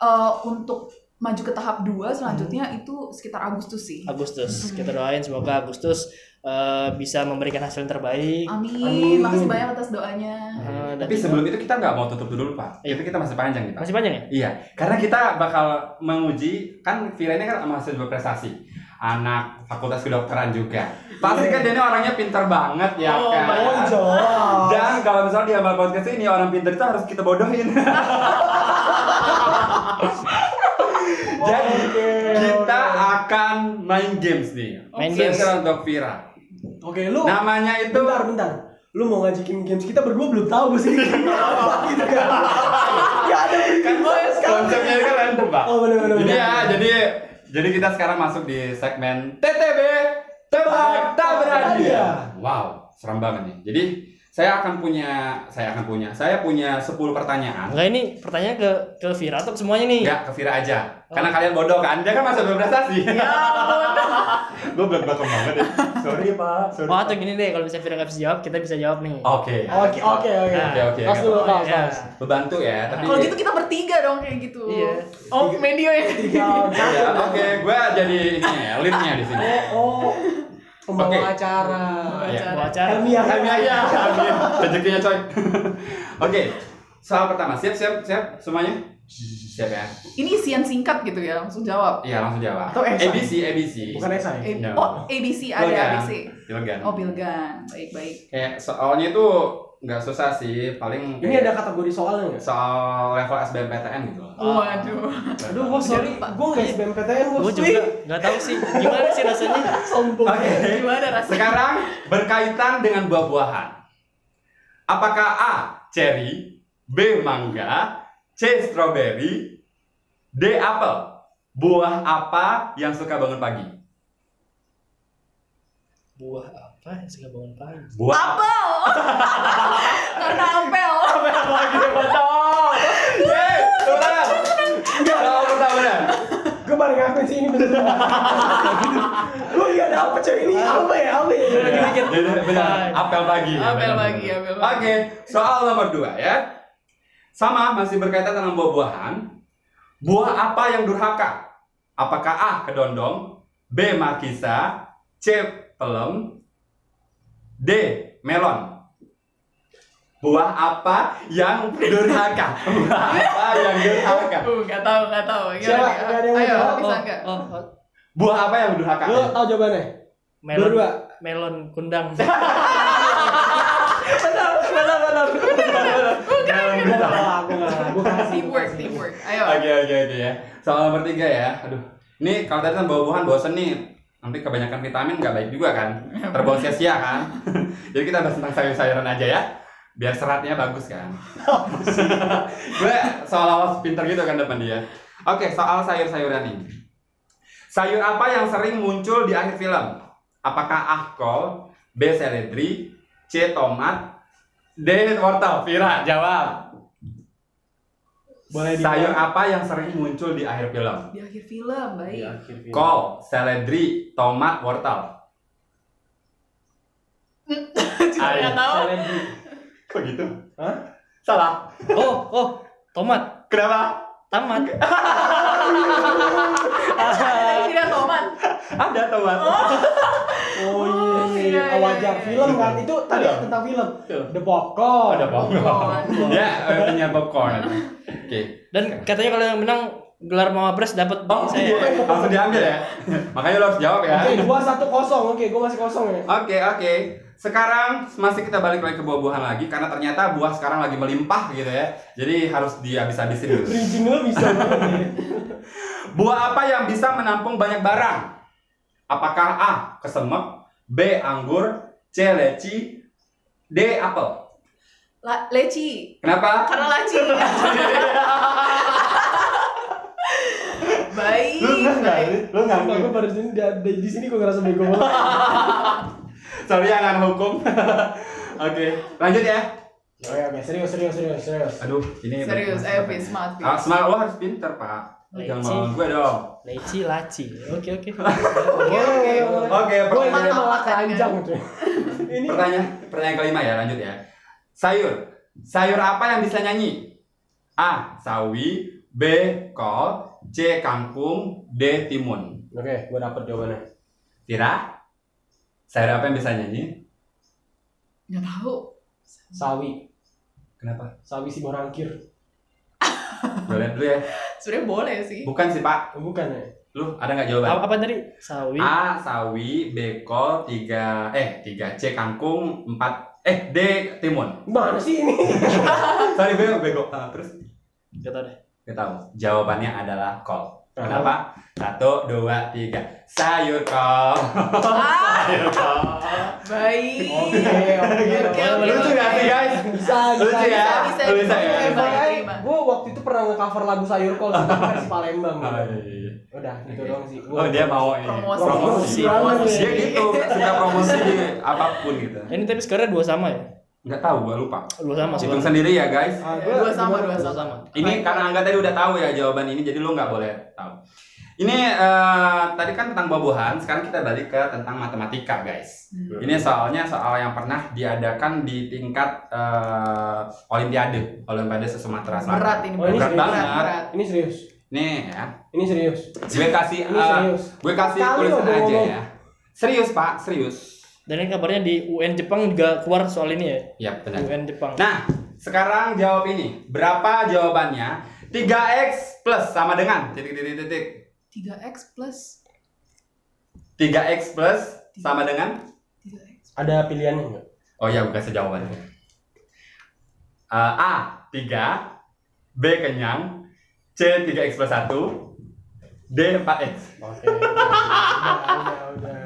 [SPEAKER 4] Eh, untuk maju ke tahap 2 selanjutnya itu sekitar Agustus sih.
[SPEAKER 3] Agustus. Kita doain semoga Agustus eh, bisa memberikan hasil yang terbaik.
[SPEAKER 1] Amin.
[SPEAKER 4] Amin. Makasih banyak atas doanya.
[SPEAKER 3] Eh, dan
[SPEAKER 2] Tapi sebelum itu kita nggak mau tutup dulu pak.
[SPEAKER 3] Iya.
[SPEAKER 2] Tapi kita masih panjang nih pak.
[SPEAKER 3] masih panjang ya?
[SPEAKER 2] Iya, karena kita bakal menguji kan Vira ini kan mahasiswa prestasi, anak fakultas kedokteran juga. Pasti kan dia ini orangnya pintar banget ya
[SPEAKER 3] Oh,
[SPEAKER 2] kan.
[SPEAKER 1] Bonjour.
[SPEAKER 2] Dan kalau misalnya di abal podcast ini orang pintar itu harus kita bodohin. Jadi
[SPEAKER 1] Oh, Oke,
[SPEAKER 2] [LAUGHS] kita
[SPEAKER 1] oke.
[SPEAKER 2] akan main games nih.
[SPEAKER 3] Iya, Main
[SPEAKER 2] Spesial
[SPEAKER 3] games.
[SPEAKER 2] untuk Vira.
[SPEAKER 1] Oke, lu
[SPEAKER 2] Namanya itu
[SPEAKER 1] bentar bentar. Lu mau ngajakin games kita berdua belum tahu
[SPEAKER 2] [LAUGHS]
[SPEAKER 1] gue sih. Apa gitu kan. Gak ada
[SPEAKER 2] kan
[SPEAKER 1] ya
[SPEAKER 2] konsepnya kan random pak.
[SPEAKER 1] Oh, bener, bener,
[SPEAKER 2] Jadi
[SPEAKER 1] bener.
[SPEAKER 2] ya jadi jadi kita sekarang masuk di segmen TTB tebak tabrakan.
[SPEAKER 1] Iya.
[SPEAKER 2] Wow serem banget nih. Jadi saya akan punya saya akan punya saya punya 10 pertanyaan.
[SPEAKER 3] Enggak ini pertanyaan ke ke Vira atau ke semuanya nih?
[SPEAKER 2] Enggak ke Vira aja. Karena kalian bodoh kan. Dia kan masih berprestasi. Gue belak belakan banget ya. Sorry pak. Sorry.
[SPEAKER 3] Oh atau gini deh kalau misalnya Vira nggak bisa jawab kita bisa jawab nih.
[SPEAKER 2] Oke.
[SPEAKER 1] Oke, oke, oke.
[SPEAKER 2] Nah, Oke, oke.
[SPEAKER 1] Kas dulu, kas,
[SPEAKER 3] Ya.
[SPEAKER 1] kas.
[SPEAKER 2] Bebantu ya. Tapi
[SPEAKER 4] Kalau gitu kita bertiga dong kayak gitu.
[SPEAKER 3] Iya.
[SPEAKER 4] Oh, medio ya.
[SPEAKER 1] Iya. Tiga, Iya.
[SPEAKER 2] Ya,
[SPEAKER 1] satu.
[SPEAKER 2] oke. Gue jadi ini ya, leadnya di sini.
[SPEAKER 1] Oh, pembawa
[SPEAKER 2] Oke.
[SPEAKER 1] acara.
[SPEAKER 2] Iya.
[SPEAKER 3] Bawa acara.
[SPEAKER 1] Kami ya,
[SPEAKER 2] Kami
[SPEAKER 1] kami
[SPEAKER 2] aja, kami. Rezekinya coy. [LAUGHS] Oke, soal pertama. Siap, siap, siap semuanya? Siap ya?
[SPEAKER 4] Ini isian singkat gitu ya, langsung jawab.
[SPEAKER 2] Iya, langsung jawab.
[SPEAKER 1] Atau esai?
[SPEAKER 2] ABC, ABC.
[SPEAKER 1] Bukan ya? esai.
[SPEAKER 4] Eh,
[SPEAKER 2] No.
[SPEAKER 4] Oh, ABC ada
[SPEAKER 2] Pilgan.
[SPEAKER 4] ABC.
[SPEAKER 2] Pilgan.
[SPEAKER 4] Oh, Bilgan. Baik-baik.
[SPEAKER 2] Kayak soalnya itu nggak susah sih, paling
[SPEAKER 1] Ini ada kategori soalnya nggak?
[SPEAKER 2] soal level SBMPTN gitu. loh.
[SPEAKER 1] Ah.
[SPEAKER 4] Waduh. [LAUGHS]
[SPEAKER 1] Aduh, gue sorry, gue nggak SBMPTN, gue
[SPEAKER 3] Gue juga nggak tahu sih gimana sih rasanya.
[SPEAKER 1] sombong.
[SPEAKER 2] Oke.
[SPEAKER 4] Gimana rasanya?
[SPEAKER 2] Sekarang berkaitan dengan buah-buahan. Apakah A. Cherry B. Mangga C. Strawberry D. Apel Buah apa yang suka bangun pagi?
[SPEAKER 3] Buah apa yang suka bangun pagi?
[SPEAKER 2] Buah
[SPEAKER 4] Apel. Karena apel.
[SPEAKER 2] lagi betul. Yeay, benar. Enggak, kalau benar benar.
[SPEAKER 1] Gue baru ngakuin sih ini bener.
[SPEAKER 2] [LAUGHS]
[SPEAKER 1] Gue nggak dapet coy ini apa ya, apa ya?
[SPEAKER 3] Lagi
[SPEAKER 2] Iya.
[SPEAKER 3] mikir.
[SPEAKER 2] Benar, benar. Apel
[SPEAKER 1] Iya,
[SPEAKER 2] pagi.
[SPEAKER 4] Apel
[SPEAKER 2] Benar,
[SPEAKER 4] pagi,
[SPEAKER 2] benar.
[SPEAKER 4] apel pagi.
[SPEAKER 2] Oke, soal nomor dua ya. Sama masih berkaitan dengan buah-buahan. Buah apa yang durhaka? Apakah A kedondong, B makisa, C pelem, D melon? Buah apa yang durhaka? Buah apa yang durhaka?
[SPEAKER 4] Uh, gak tahu, gak tahu.
[SPEAKER 1] Siapa?
[SPEAKER 4] nih?
[SPEAKER 1] Gak ada yang
[SPEAKER 4] Ayo,
[SPEAKER 1] jawab.
[SPEAKER 4] bisa enggak?
[SPEAKER 3] Oh, oh,
[SPEAKER 2] Buah apa yang durhaka?
[SPEAKER 1] Lu tau jawabannya?
[SPEAKER 3] melon,
[SPEAKER 1] Berdua.
[SPEAKER 3] melon kundang.
[SPEAKER 1] Benar, benar, benar.
[SPEAKER 2] Melon
[SPEAKER 1] Gue
[SPEAKER 2] durhaka.
[SPEAKER 1] kalah, gue kalah. Gue kasih. gua
[SPEAKER 4] Teamwork,
[SPEAKER 1] kasih.
[SPEAKER 4] teamwork. Ayo.
[SPEAKER 2] Oke oke oke ya. Soal nomor tiga ya. Aduh. Ini kalau tadi kan buah-buahan bosen nih. Nanti kebanyakan vitamin nggak baik juga kan. Terbuang sia-sia kan. [LAUGHS] Jadi kita bahas tentang sayur-sayuran aja ya. [LAUGHS] Biar seratnya bagus kan. Gue seolah-olah pinter gitu kan depan dia. Oke, soal sayur-sayuran ini. Sayur apa yang sering muncul di akhir film? Apakah ahkol, B seledri, C tomat, D wortel? Vira, jawab.
[SPEAKER 1] Boleh di-
[SPEAKER 2] Sayur apa yang sering muncul di akhir film?
[SPEAKER 4] Di akhir film,
[SPEAKER 1] Di
[SPEAKER 4] [LAUGHS] baik.
[SPEAKER 1] akhir film.
[SPEAKER 2] Kol, seledri, tomat, wortel.
[SPEAKER 4] Juga nggak tahu.
[SPEAKER 1] Selebi.
[SPEAKER 2] Kok gitu?
[SPEAKER 1] Hah?
[SPEAKER 2] Salah.
[SPEAKER 3] Oh, oh, tomat,
[SPEAKER 2] Kenapa?
[SPEAKER 3] tamat. [LAUGHS]
[SPEAKER 4] Ada kira tomat.
[SPEAKER 2] Ada tomat.
[SPEAKER 1] Oh
[SPEAKER 4] Oh,
[SPEAKER 1] iya,
[SPEAKER 4] iya,
[SPEAKER 1] iya,
[SPEAKER 4] iya,
[SPEAKER 1] wajah
[SPEAKER 4] iya.
[SPEAKER 1] film kan itu tadi
[SPEAKER 2] Ada.
[SPEAKER 1] tentang film.
[SPEAKER 2] Tuh.
[SPEAKER 1] The Popcorn.
[SPEAKER 2] Ada popcorn.
[SPEAKER 4] Popcorn.
[SPEAKER 2] ya, eh, punya popcorn. Oke.
[SPEAKER 3] Dan katanya kalau yang menang gelar Mawapres dapat
[SPEAKER 2] Oh,
[SPEAKER 3] saya.
[SPEAKER 2] iya. Langsung diambil ya. Makanya lo harus jawab ya.
[SPEAKER 1] Oke, dua satu kosong. Oke, gue masih kosong ya.
[SPEAKER 2] Oke oke. Sekarang masih kita balik lagi ke buah-buahan lagi karena ternyata buah sekarang lagi melimpah gitu ya. Jadi harus dihabis-habisin dulu.
[SPEAKER 1] Bridging lo bisa banget ya.
[SPEAKER 2] Buah apa yang bisa menampung banyak barang? Apakah A. Kesemek B. Anggur C. Leci D. Apel
[SPEAKER 4] La- leci.
[SPEAKER 2] Kenapa?
[SPEAKER 4] Karena laci. baik.
[SPEAKER 2] Lu nggak nggak?
[SPEAKER 4] baik.
[SPEAKER 2] Lu nggak
[SPEAKER 1] Sumpah, gue baru di sini di- di, di sini gue ngerasa bego banget.
[SPEAKER 2] Sorry ya nggak ada hukum [LAUGHS] Oke lanjut ya
[SPEAKER 1] Oke, oke, serius, serius, serius, serius.
[SPEAKER 2] Aduh ini
[SPEAKER 4] Serius, ayo Fis, maaf Fis.
[SPEAKER 2] Ah, semangat lo harus pinter pak Jangan
[SPEAKER 3] Leci.
[SPEAKER 2] ngomong gue dong
[SPEAKER 3] Leci, laci. Oke,
[SPEAKER 2] [LAUGHS]
[SPEAKER 3] oke.
[SPEAKER 1] Oke, oke,
[SPEAKER 2] Oke
[SPEAKER 1] Gue
[SPEAKER 2] pertanyaan
[SPEAKER 1] ini malah keranjang cuy. Ini
[SPEAKER 2] Pertanyaan pertanyaan kelima ya, lanjut ya. Sayur. Sayur apa yang bisa nyanyi? A. Sawi, B. Kol, C. Kangkung, D. Timun.
[SPEAKER 1] Oke, gue dapet jawabannya.
[SPEAKER 2] Tira? Sayur apa yang bisa nyanyi?
[SPEAKER 4] Nggak tahu.
[SPEAKER 1] Sawi,
[SPEAKER 2] Kenapa?
[SPEAKER 1] sawi si borangkir.
[SPEAKER 2] Boleh dulu ya.
[SPEAKER 4] Sebenarnya boleh sih.
[SPEAKER 2] Bukan sih, Pak.
[SPEAKER 1] Bukan ya?
[SPEAKER 2] Lu ada nggak jawaban?
[SPEAKER 3] Apa, apa tadi? Sawi.
[SPEAKER 2] A. Sawi, B. Kol, 3 eh 3 C. Kangkung, 4 eh D. Timun.
[SPEAKER 1] Mana sih ini?
[SPEAKER 2] Sorry, bego, bego. Ah, terus
[SPEAKER 3] Gak tau deh.
[SPEAKER 2] Kita tahu. Jawabannya adalah kol. Kenapa? Satu, dua, tiga. Sayur kol.
[SPEAKER 4] Ah,
[SPEAKER 2] Sayur kol.
[SPEAKER 4] baik.
[SPEAKER 1] Oke, oke,
[SPEAKER 4] Oke, oke,
[SPEAKER 2] Lucu
[SPEAKER 4] oke.
[SPEAKER 2] nggak sih guys?
[SPEAKER 1] Bisa,
[SPEAKER 2] Lucu
[SPEAKER 1] bisa,
[SPEAKER 2] ya?
[SPEAKER 4] bisa,
[SPEAKER 2] Lucu
[SPEAKER 4] bisa,
[SPEAKER 2] ya?
[SPEAKER 4] bisa. Terima.
[SPEAKER 1] gue waktu itu pernah nge-cover lagu sayur kol sih, tapi kan versi Palembang.
[SPEAKER 2] Oh, iya, iya.
[SPEAKER 1] Udah, gitu
[SPEAKER 2] Oke.
[SPEAKER 1] doang sih. Gua-
[SPEAKER 2] Oh dia mau ini
[SPEAKER 4] Promosi.
[SPEAKER 2] promosi.
[SPEAKER 1] Promosi.
[SPEAKER 2] Dia [LAUGHS] gitu suka promosi di apapun gitu.
[SPEAKER 3] Ini tapi sekarang dua sama ya?
[SPEAKER 2] Nggak tahu, gua lupa.
[SPEAKER 3] Dua sama sih.
[SPEAKER 2] Hitung sendiri ya guys.
[SPEAKER 1] Ah, gua-
[SPEAKER 4] Dua sama, dua
[SPEAKER 1] gua-
[SPEAKER 4] sama.
[SPEAKER 3] sama.
[SPEAKER 2] Ini karena Angga tadi udah tahu ya jawaban ini, jadi lo nggak boleh tahu. Ini eh, tadi kan tentang buah-buahan, sekarang kita balik ke tentang matematika guys.
[SPEAKER 4] Hmm.
[SPEAKER 2] Ini soalnya soal yang pernah diadakan di tingkat eh, Olimpiade, Olimpiade Sumatera Selatan.
[SPEAKER 4] Berat ini
[SPEAKER 1] Oh, ini
[SPEAKER 2] Berat
[SPEAKER 1] serius.
[SPEAKER 2] banget.
[SPEAKER 4] berat.
[SPEAKER 1] Ini serius.
[SPEAKER 2] Nih ya,
[SPEAKER 1] Ini serius.
[SPEAKER 2] gue kasih
[SPEAKER 1] Ini
[SPEAKER 2] eh,
[SPEAKER 1] serius.
[SPEAKER 2] gue kasih
[SPEAKER 1] Sekali
[SPEAKER 2] tulisan
[SPEAKER 1] lo gue
[SPEAKER 2] aja
[SPEAKER 1] ngomong.
[SPEAKER 2] ya. Serius Pak, serius.
[SPEAKER 3] Dan ini kabarnya di UN Jepang juga keluar soal ini ya?
[SPEAKER 2] Ya benar.
[SPEAKER 3] UN Jepang.
[SPEAKER 2] Nah, sekarang jawab ini. Berapa jawabannya? 3x plus sama dengan titik titik titik.
[SPEAKER 4] 3x plus
[SPEAKER 2] 3x plus sama dengan
[SPEAKER 4] 3x.
[SPEAKER 1] Ada pilihannya nggak?
[SPEAKER 2] Oh ya, gue kasih jawabannya. Eh, A 3, B kenyang, C 3x plus 1, D 4x.
[SPEAKER 1] Oke. udah, udah, udah.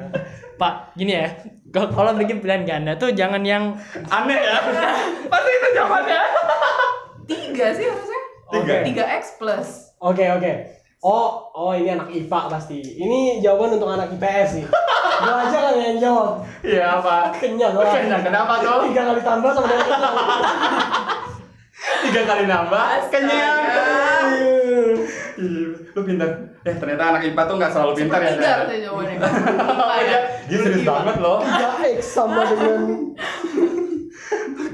[SPEAKER 3] Pak, gini ya. Kalau kalau bikin pilihan ganda tuh jangan yang
[SPEAKER 2] Aneh ya? Pasti itu jawabannya.
[SPEAKER 4] 3 sih harusnya.
[SPEAKER 2] Tiga.
[SPEAKER 1] Oke.
[SPEAKER 4] 3x plus.
[SPEAKER 1] Oke, oke. Oh, oh ini anak IPA pasti. Ini jawaban untuk anak IPS sih. Gua aja kan yang jawab.
[SPEAKER 2] Iya, Pak.
[SPEAKER 1] Kenyang lah.
[SPEAKER 2] Kenyang, kenapa tuh?
[SPEAKER 1] Tiga kali tambah sama
[SPEAKER 2] [LAUGHS]
[SPEAKER 1] dengan kenyang.
[SPEAKER 2] Tiga kali nambah, kenyang.
[SPEAKER 4] Astaga.
[SPEAKER 2] Iya, Lu pintar. Eh, ternyata anak IPA tuh nggak selalu pintar ya.
[SPEAKER 4] Tiga
[SPEAKER 2] Nen.
[SPEAKER 4] harusnya jawabannya.
[SPEAKER 2] [LAUGHS] Oh, iya. Dia serius banget loh.
[SPEAKER 1] Tiga X sama dengan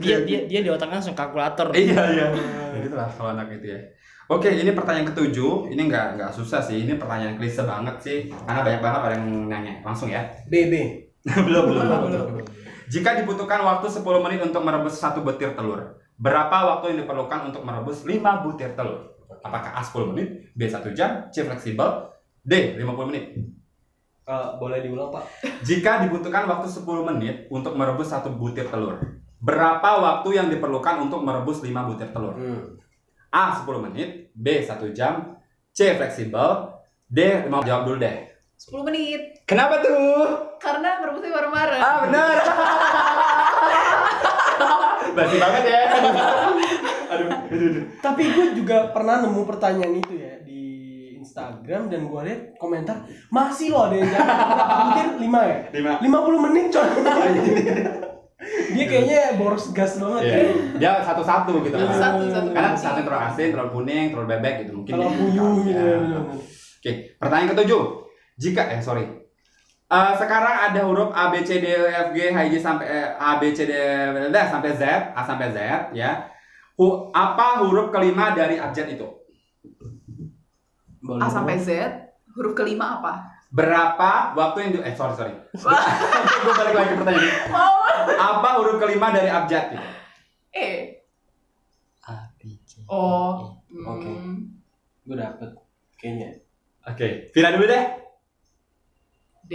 [SPEAKER 3] dia dia dia di otaknya langsung kalkulator.
[SPEAKER 2] Iya, iya. Ya gitu lah kalau anak itu ya. Oke, ini pertanyaan ketujuh. Ini nggak nggak susah sih. Ini pertanyaan klise banget sih. Karena banyak banget orang yang nanya. Langsung ya.
[SPEAKER 1] BB.
[SPEAKER 2] [LAUGHS] belum, belum, belum.
[SPEAKER 1] Eh,
[SPEAKER 2] Jika dibutuhkan waktu 10 menit untuk merebus satu butir telur, berapa waktu yang diperlukan untuk merebus 5 butir telur? Apakah A 10 menit, B 1 jam, C fleksibel, D 50 menit?
[SPEAKER 1] Eh, boleh diulang, Pak?
[SPEAKER 2] Jika dibutuhkan waktu 10 menit untuk merebus satu butir telur, berapa waktu yang diperlukan untuk merebus 5 butir telur?
[SPEAKER 1] Hmm.
[SPEAKER 2] A 10 menit, B 1 jam, C fleksibel, D mau jawab dulu deh.
[SPEAKER 4] 10 menit.
[SPEAKER 2] Kenapa tuh?
[SPEAKER 4] Karena merebusnya bareng-bareng.
[SPEAKER 2] Ah benar. [LAUGHS] Basi banget ya. aduh, aduh, aduh.
[SPEAKER 1] Tapi gue juga pernah nemu pertanyaan itu ya di Instagram dan gue liat komentar masih loh ada yang jalan mungkin lima ya
[SPEAKER 2] Lima.
[SPEAKER 1] 50 menit coy dia kayaknya boros gas banget
[SPEAKER 2] Iya.
[SPEAKER 1] ya.
[SPEAKER 2] Dia satu-satu gitu. kan.
[SPEAKER 4] Satu, satu.
[SPEAKER 2] Karena satu telur asin, telur kuning, telur bebek gitu mungkin.
[SPEAKER 1] kalau
[SPEAKER 2] ya.
[SPEAKER 1] puyuh gitu
[SPEAKER 2] Ya. Oke, pertanyaan ketujuh. Jika eh sorry. Eh, sekarang ada huruf A B C D E F G H I J sampai eh, A B C D E, F, sampai Z A sampai Z ya. Hu- apa huruf kelima dari abjad itu?
[SPEAKER 4] A Ah, sampai Z huruf kelima
[SPEAKER 2] [LAUGHS]
[SPEAKER 4] apa?
[SPEAKER 2] Berapa waktu yang di- eh sorry sorry. [LAUGHS] Gue balik lagi ke pertanyaan.
[SPEAKER 4] Mau
[SPEAKER 2] Apa huruf kelima dari abjad itu?
[SPEAKER 4] E.
[SPEAKER 3] A, B, C, E.
[SPEAKER 4] Oh. Hmm.
[SPEAKER 1] Oke. gue dapet kayaknya
[SPEAKER 2] Oke, Vira dulu deh.
[SPEAKER 4] D.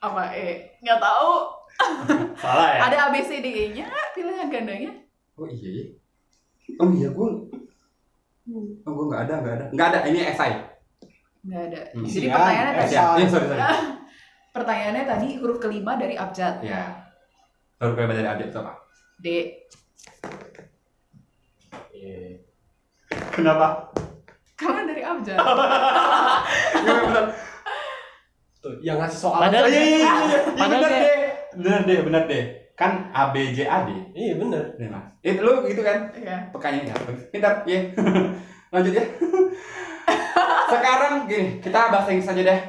[SPEAKER 4] Apa E? Nggak tahu.
[SPEAKER 2] Salah ya?
[SPEAKER 4] Ada A B C D E-nya pilihan gandanya.
[SPEAKER 2] Oh iya. iya. Oh iya gue. Oh gue nggak ada nggak ada nggak ada ini SI.
[SPEAKER 4] Nggak ada.
[SPEAKER 2] Hmm.
[SPEAKER 4] Jadi
[SPEAKER 1] Iya,
[SPEAKER 4] pertanyaannya
[SPEAKER 1] SI.
[SPEAKER 4] tadi,
[SPEAKER 2] SI. Iya sorry sorry.
[SPEAKER 4] pertanyaannya tadi huruf kelima dari abjad.
[SPEAKER 2] Iya. Baru kalian dari update itu apa?
[SPEAKER 4] D.
[SPEAKER 2] Kenapa?
[SPEAKER 4] Kamu dari
[SPEAKER 2] [LAUGHS]
[SPEAKER 4] abjad.
[SPEAKER 2] Nggak Iya, benar.
[SPEAKER 1] tuh yang ngasih soal
[SPEAKER 3] Padahal-
[SPEAKER 1] aja.
[SPEAKER 2] iya iya iya. Iya
[SPEAKER 3] Padahal
[SPEAKER 2] benar
[SPEAKER 3] kayak-
[SPEAKER 2] deh. Benar deh benar deh. Kan A B J A D.
[SPEAKER 1] iya bener
[SPEAKER 2] Nih mas. Itu lu gitu kan?
[SPEAKER 4] Iya.
[SPEAKER 2] Pekanya ya. Pintar ya. [LAUGHS] Lanjut ya. [LAUGHS] Sekarang gini kita bahasa Inggris aja deh.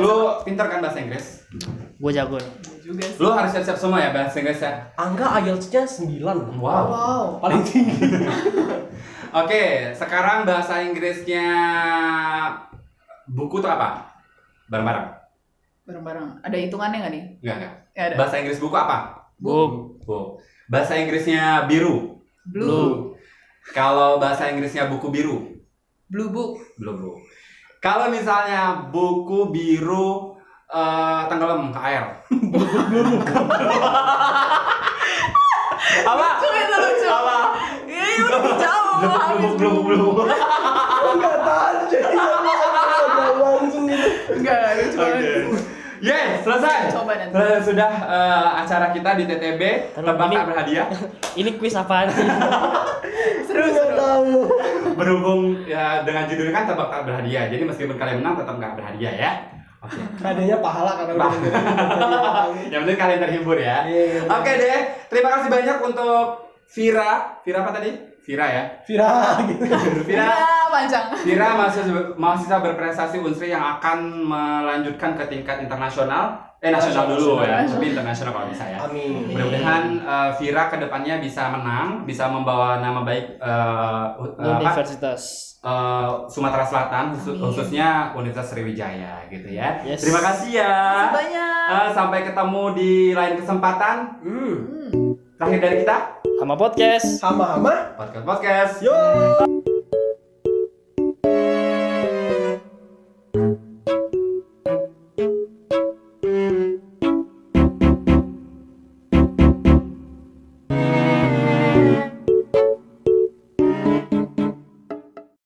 [SPEAKER 2] Lu pintar kan bahasa Inggris?
[SPEAKER 3] Gue jago nih.
[SPEAKER 4] Iya juga sih.
[SPEAKER 2] Lu harus siap-siap semua ya bahasa Inggris ya.
[SPEAKER 1] angka IELTS-nya 9 loh.
[SPEAKER 2] Wow.
[SPEAKER 4] Wow.
[SPEAKER 1] paling tinggi
[SPEAKER 2] Oke, sekarang bahasa Inggrisnya buku tuh apa? Bareng-bareng.
[SPEAKER 4] Bareng-bareng. Ada hitungannya nggak nih?
[SPEAKER 2] Enggak, enggak.
[SPEAKER 4] Ya ada.
[SPEAKER 2] Bahasa Inggris buku apa?
[SPEAKER 3] Book,
[SPEAKER 2] Buku. Bahasa Inggrisnya biru.
[SPEAKER 4] Blue.
[SPEAKER 2] Kalau bahasa Inggrisnya buku biru,
[SPEAKER 4] Blue book.
[SPEAKER 2] belum, Bro. Kalau misalnya buku biru eh tenggelam ke air. apa?
[SPEAKER 4] Lucu itu lucu.
[SPEAKER 2] Ah, Apa?
[SPEAKER 4] Ih, udah jauh. Oh, habis
[SPEAKER 2] Belum, belum, belum. [LAUGHS]
[SPEAKER 1] nggak tahan jadi langsung gitu
[SPEAKER 4] Enggak, lucu
[SPEAKER 2] Oke.
[SPEAKER 4] banget.
[SPEAKER 2] Yes, selesai.
[SPEAKER 4] Coba nanti.
[SPEAKER 2] Eh, Sudah eh, acara kita di TTB
[SPEAKER 3] Tenang,
[SPEAKER 2] tebak
[SPEAKER 3] ini-
[SPEAKER 2] tak berhadiah.
[SPEAKER 3] ini kuis apaan sih?
[SPEAKER 4] Seru, seru.
[SPEAKER 2] Berhubung ya, dengan judulnya kan tebak tak berhadiah. Jadi meskipun kalian menang tetap nggak berhadiah ya. Oke.
[SPEAKER 1] [LAUGHS] adanya pahala karena udah [LAUGHS] dengerin
[SPEAKER 2] Bah.
[SPEAKER 1] Iya,
[SPEAKER 2] Yang penting kalian terhibur ya.
[SPEAKER 1] iya.
[SPEAKER 2] Oke deh, terima kasih banyak untuk Vira. Vira apa tadi? Vira ya.
[SPEAKER 1] viral gitu
[SPEAKER 2] Vira.
[SPEAKER 4] Ah, panjang.
[SPEAKER 2] Vira mahasiswa, mahasiswa berprestasi Unsri yang akan melanjutkan ke tingkat internasional. Eh nasional dulu ya, tapi internasional kalau bisa ya.
[SPEAKER 1] amin
[SPEAKER 2] Mudah-mudahan eh, Vira kedepannya bisa menang, bisa membawa nama baik eh, u- eh, apa,
[SPEAKER 3] Universitas.
[SPEAKER 2] eh, Sumatera Selatan, khusus-
[SPEAKER 4] Amin.
[SPEAKER 2] khususnya Universitas Sriwijaya gitu ya.
[SPEAKER 3] Yes.
[SPEAKER 2] Terima kasih ya.
[SPEAKER 4] Makasih banyak.
[SPEAKER 2] Eh, sampai ketemu di lain kesempatan.
[SPEAKER 1] hmm.
[SPEAKER 4] Hmm.
[SPEAKER 2] Terakhir dari kita,
[SPEAKER 3] Sama podcast.
[SPEAKER 1] sama-sama
[SPEAKER 2] podcast podcast.
[SPEAKER 1] yo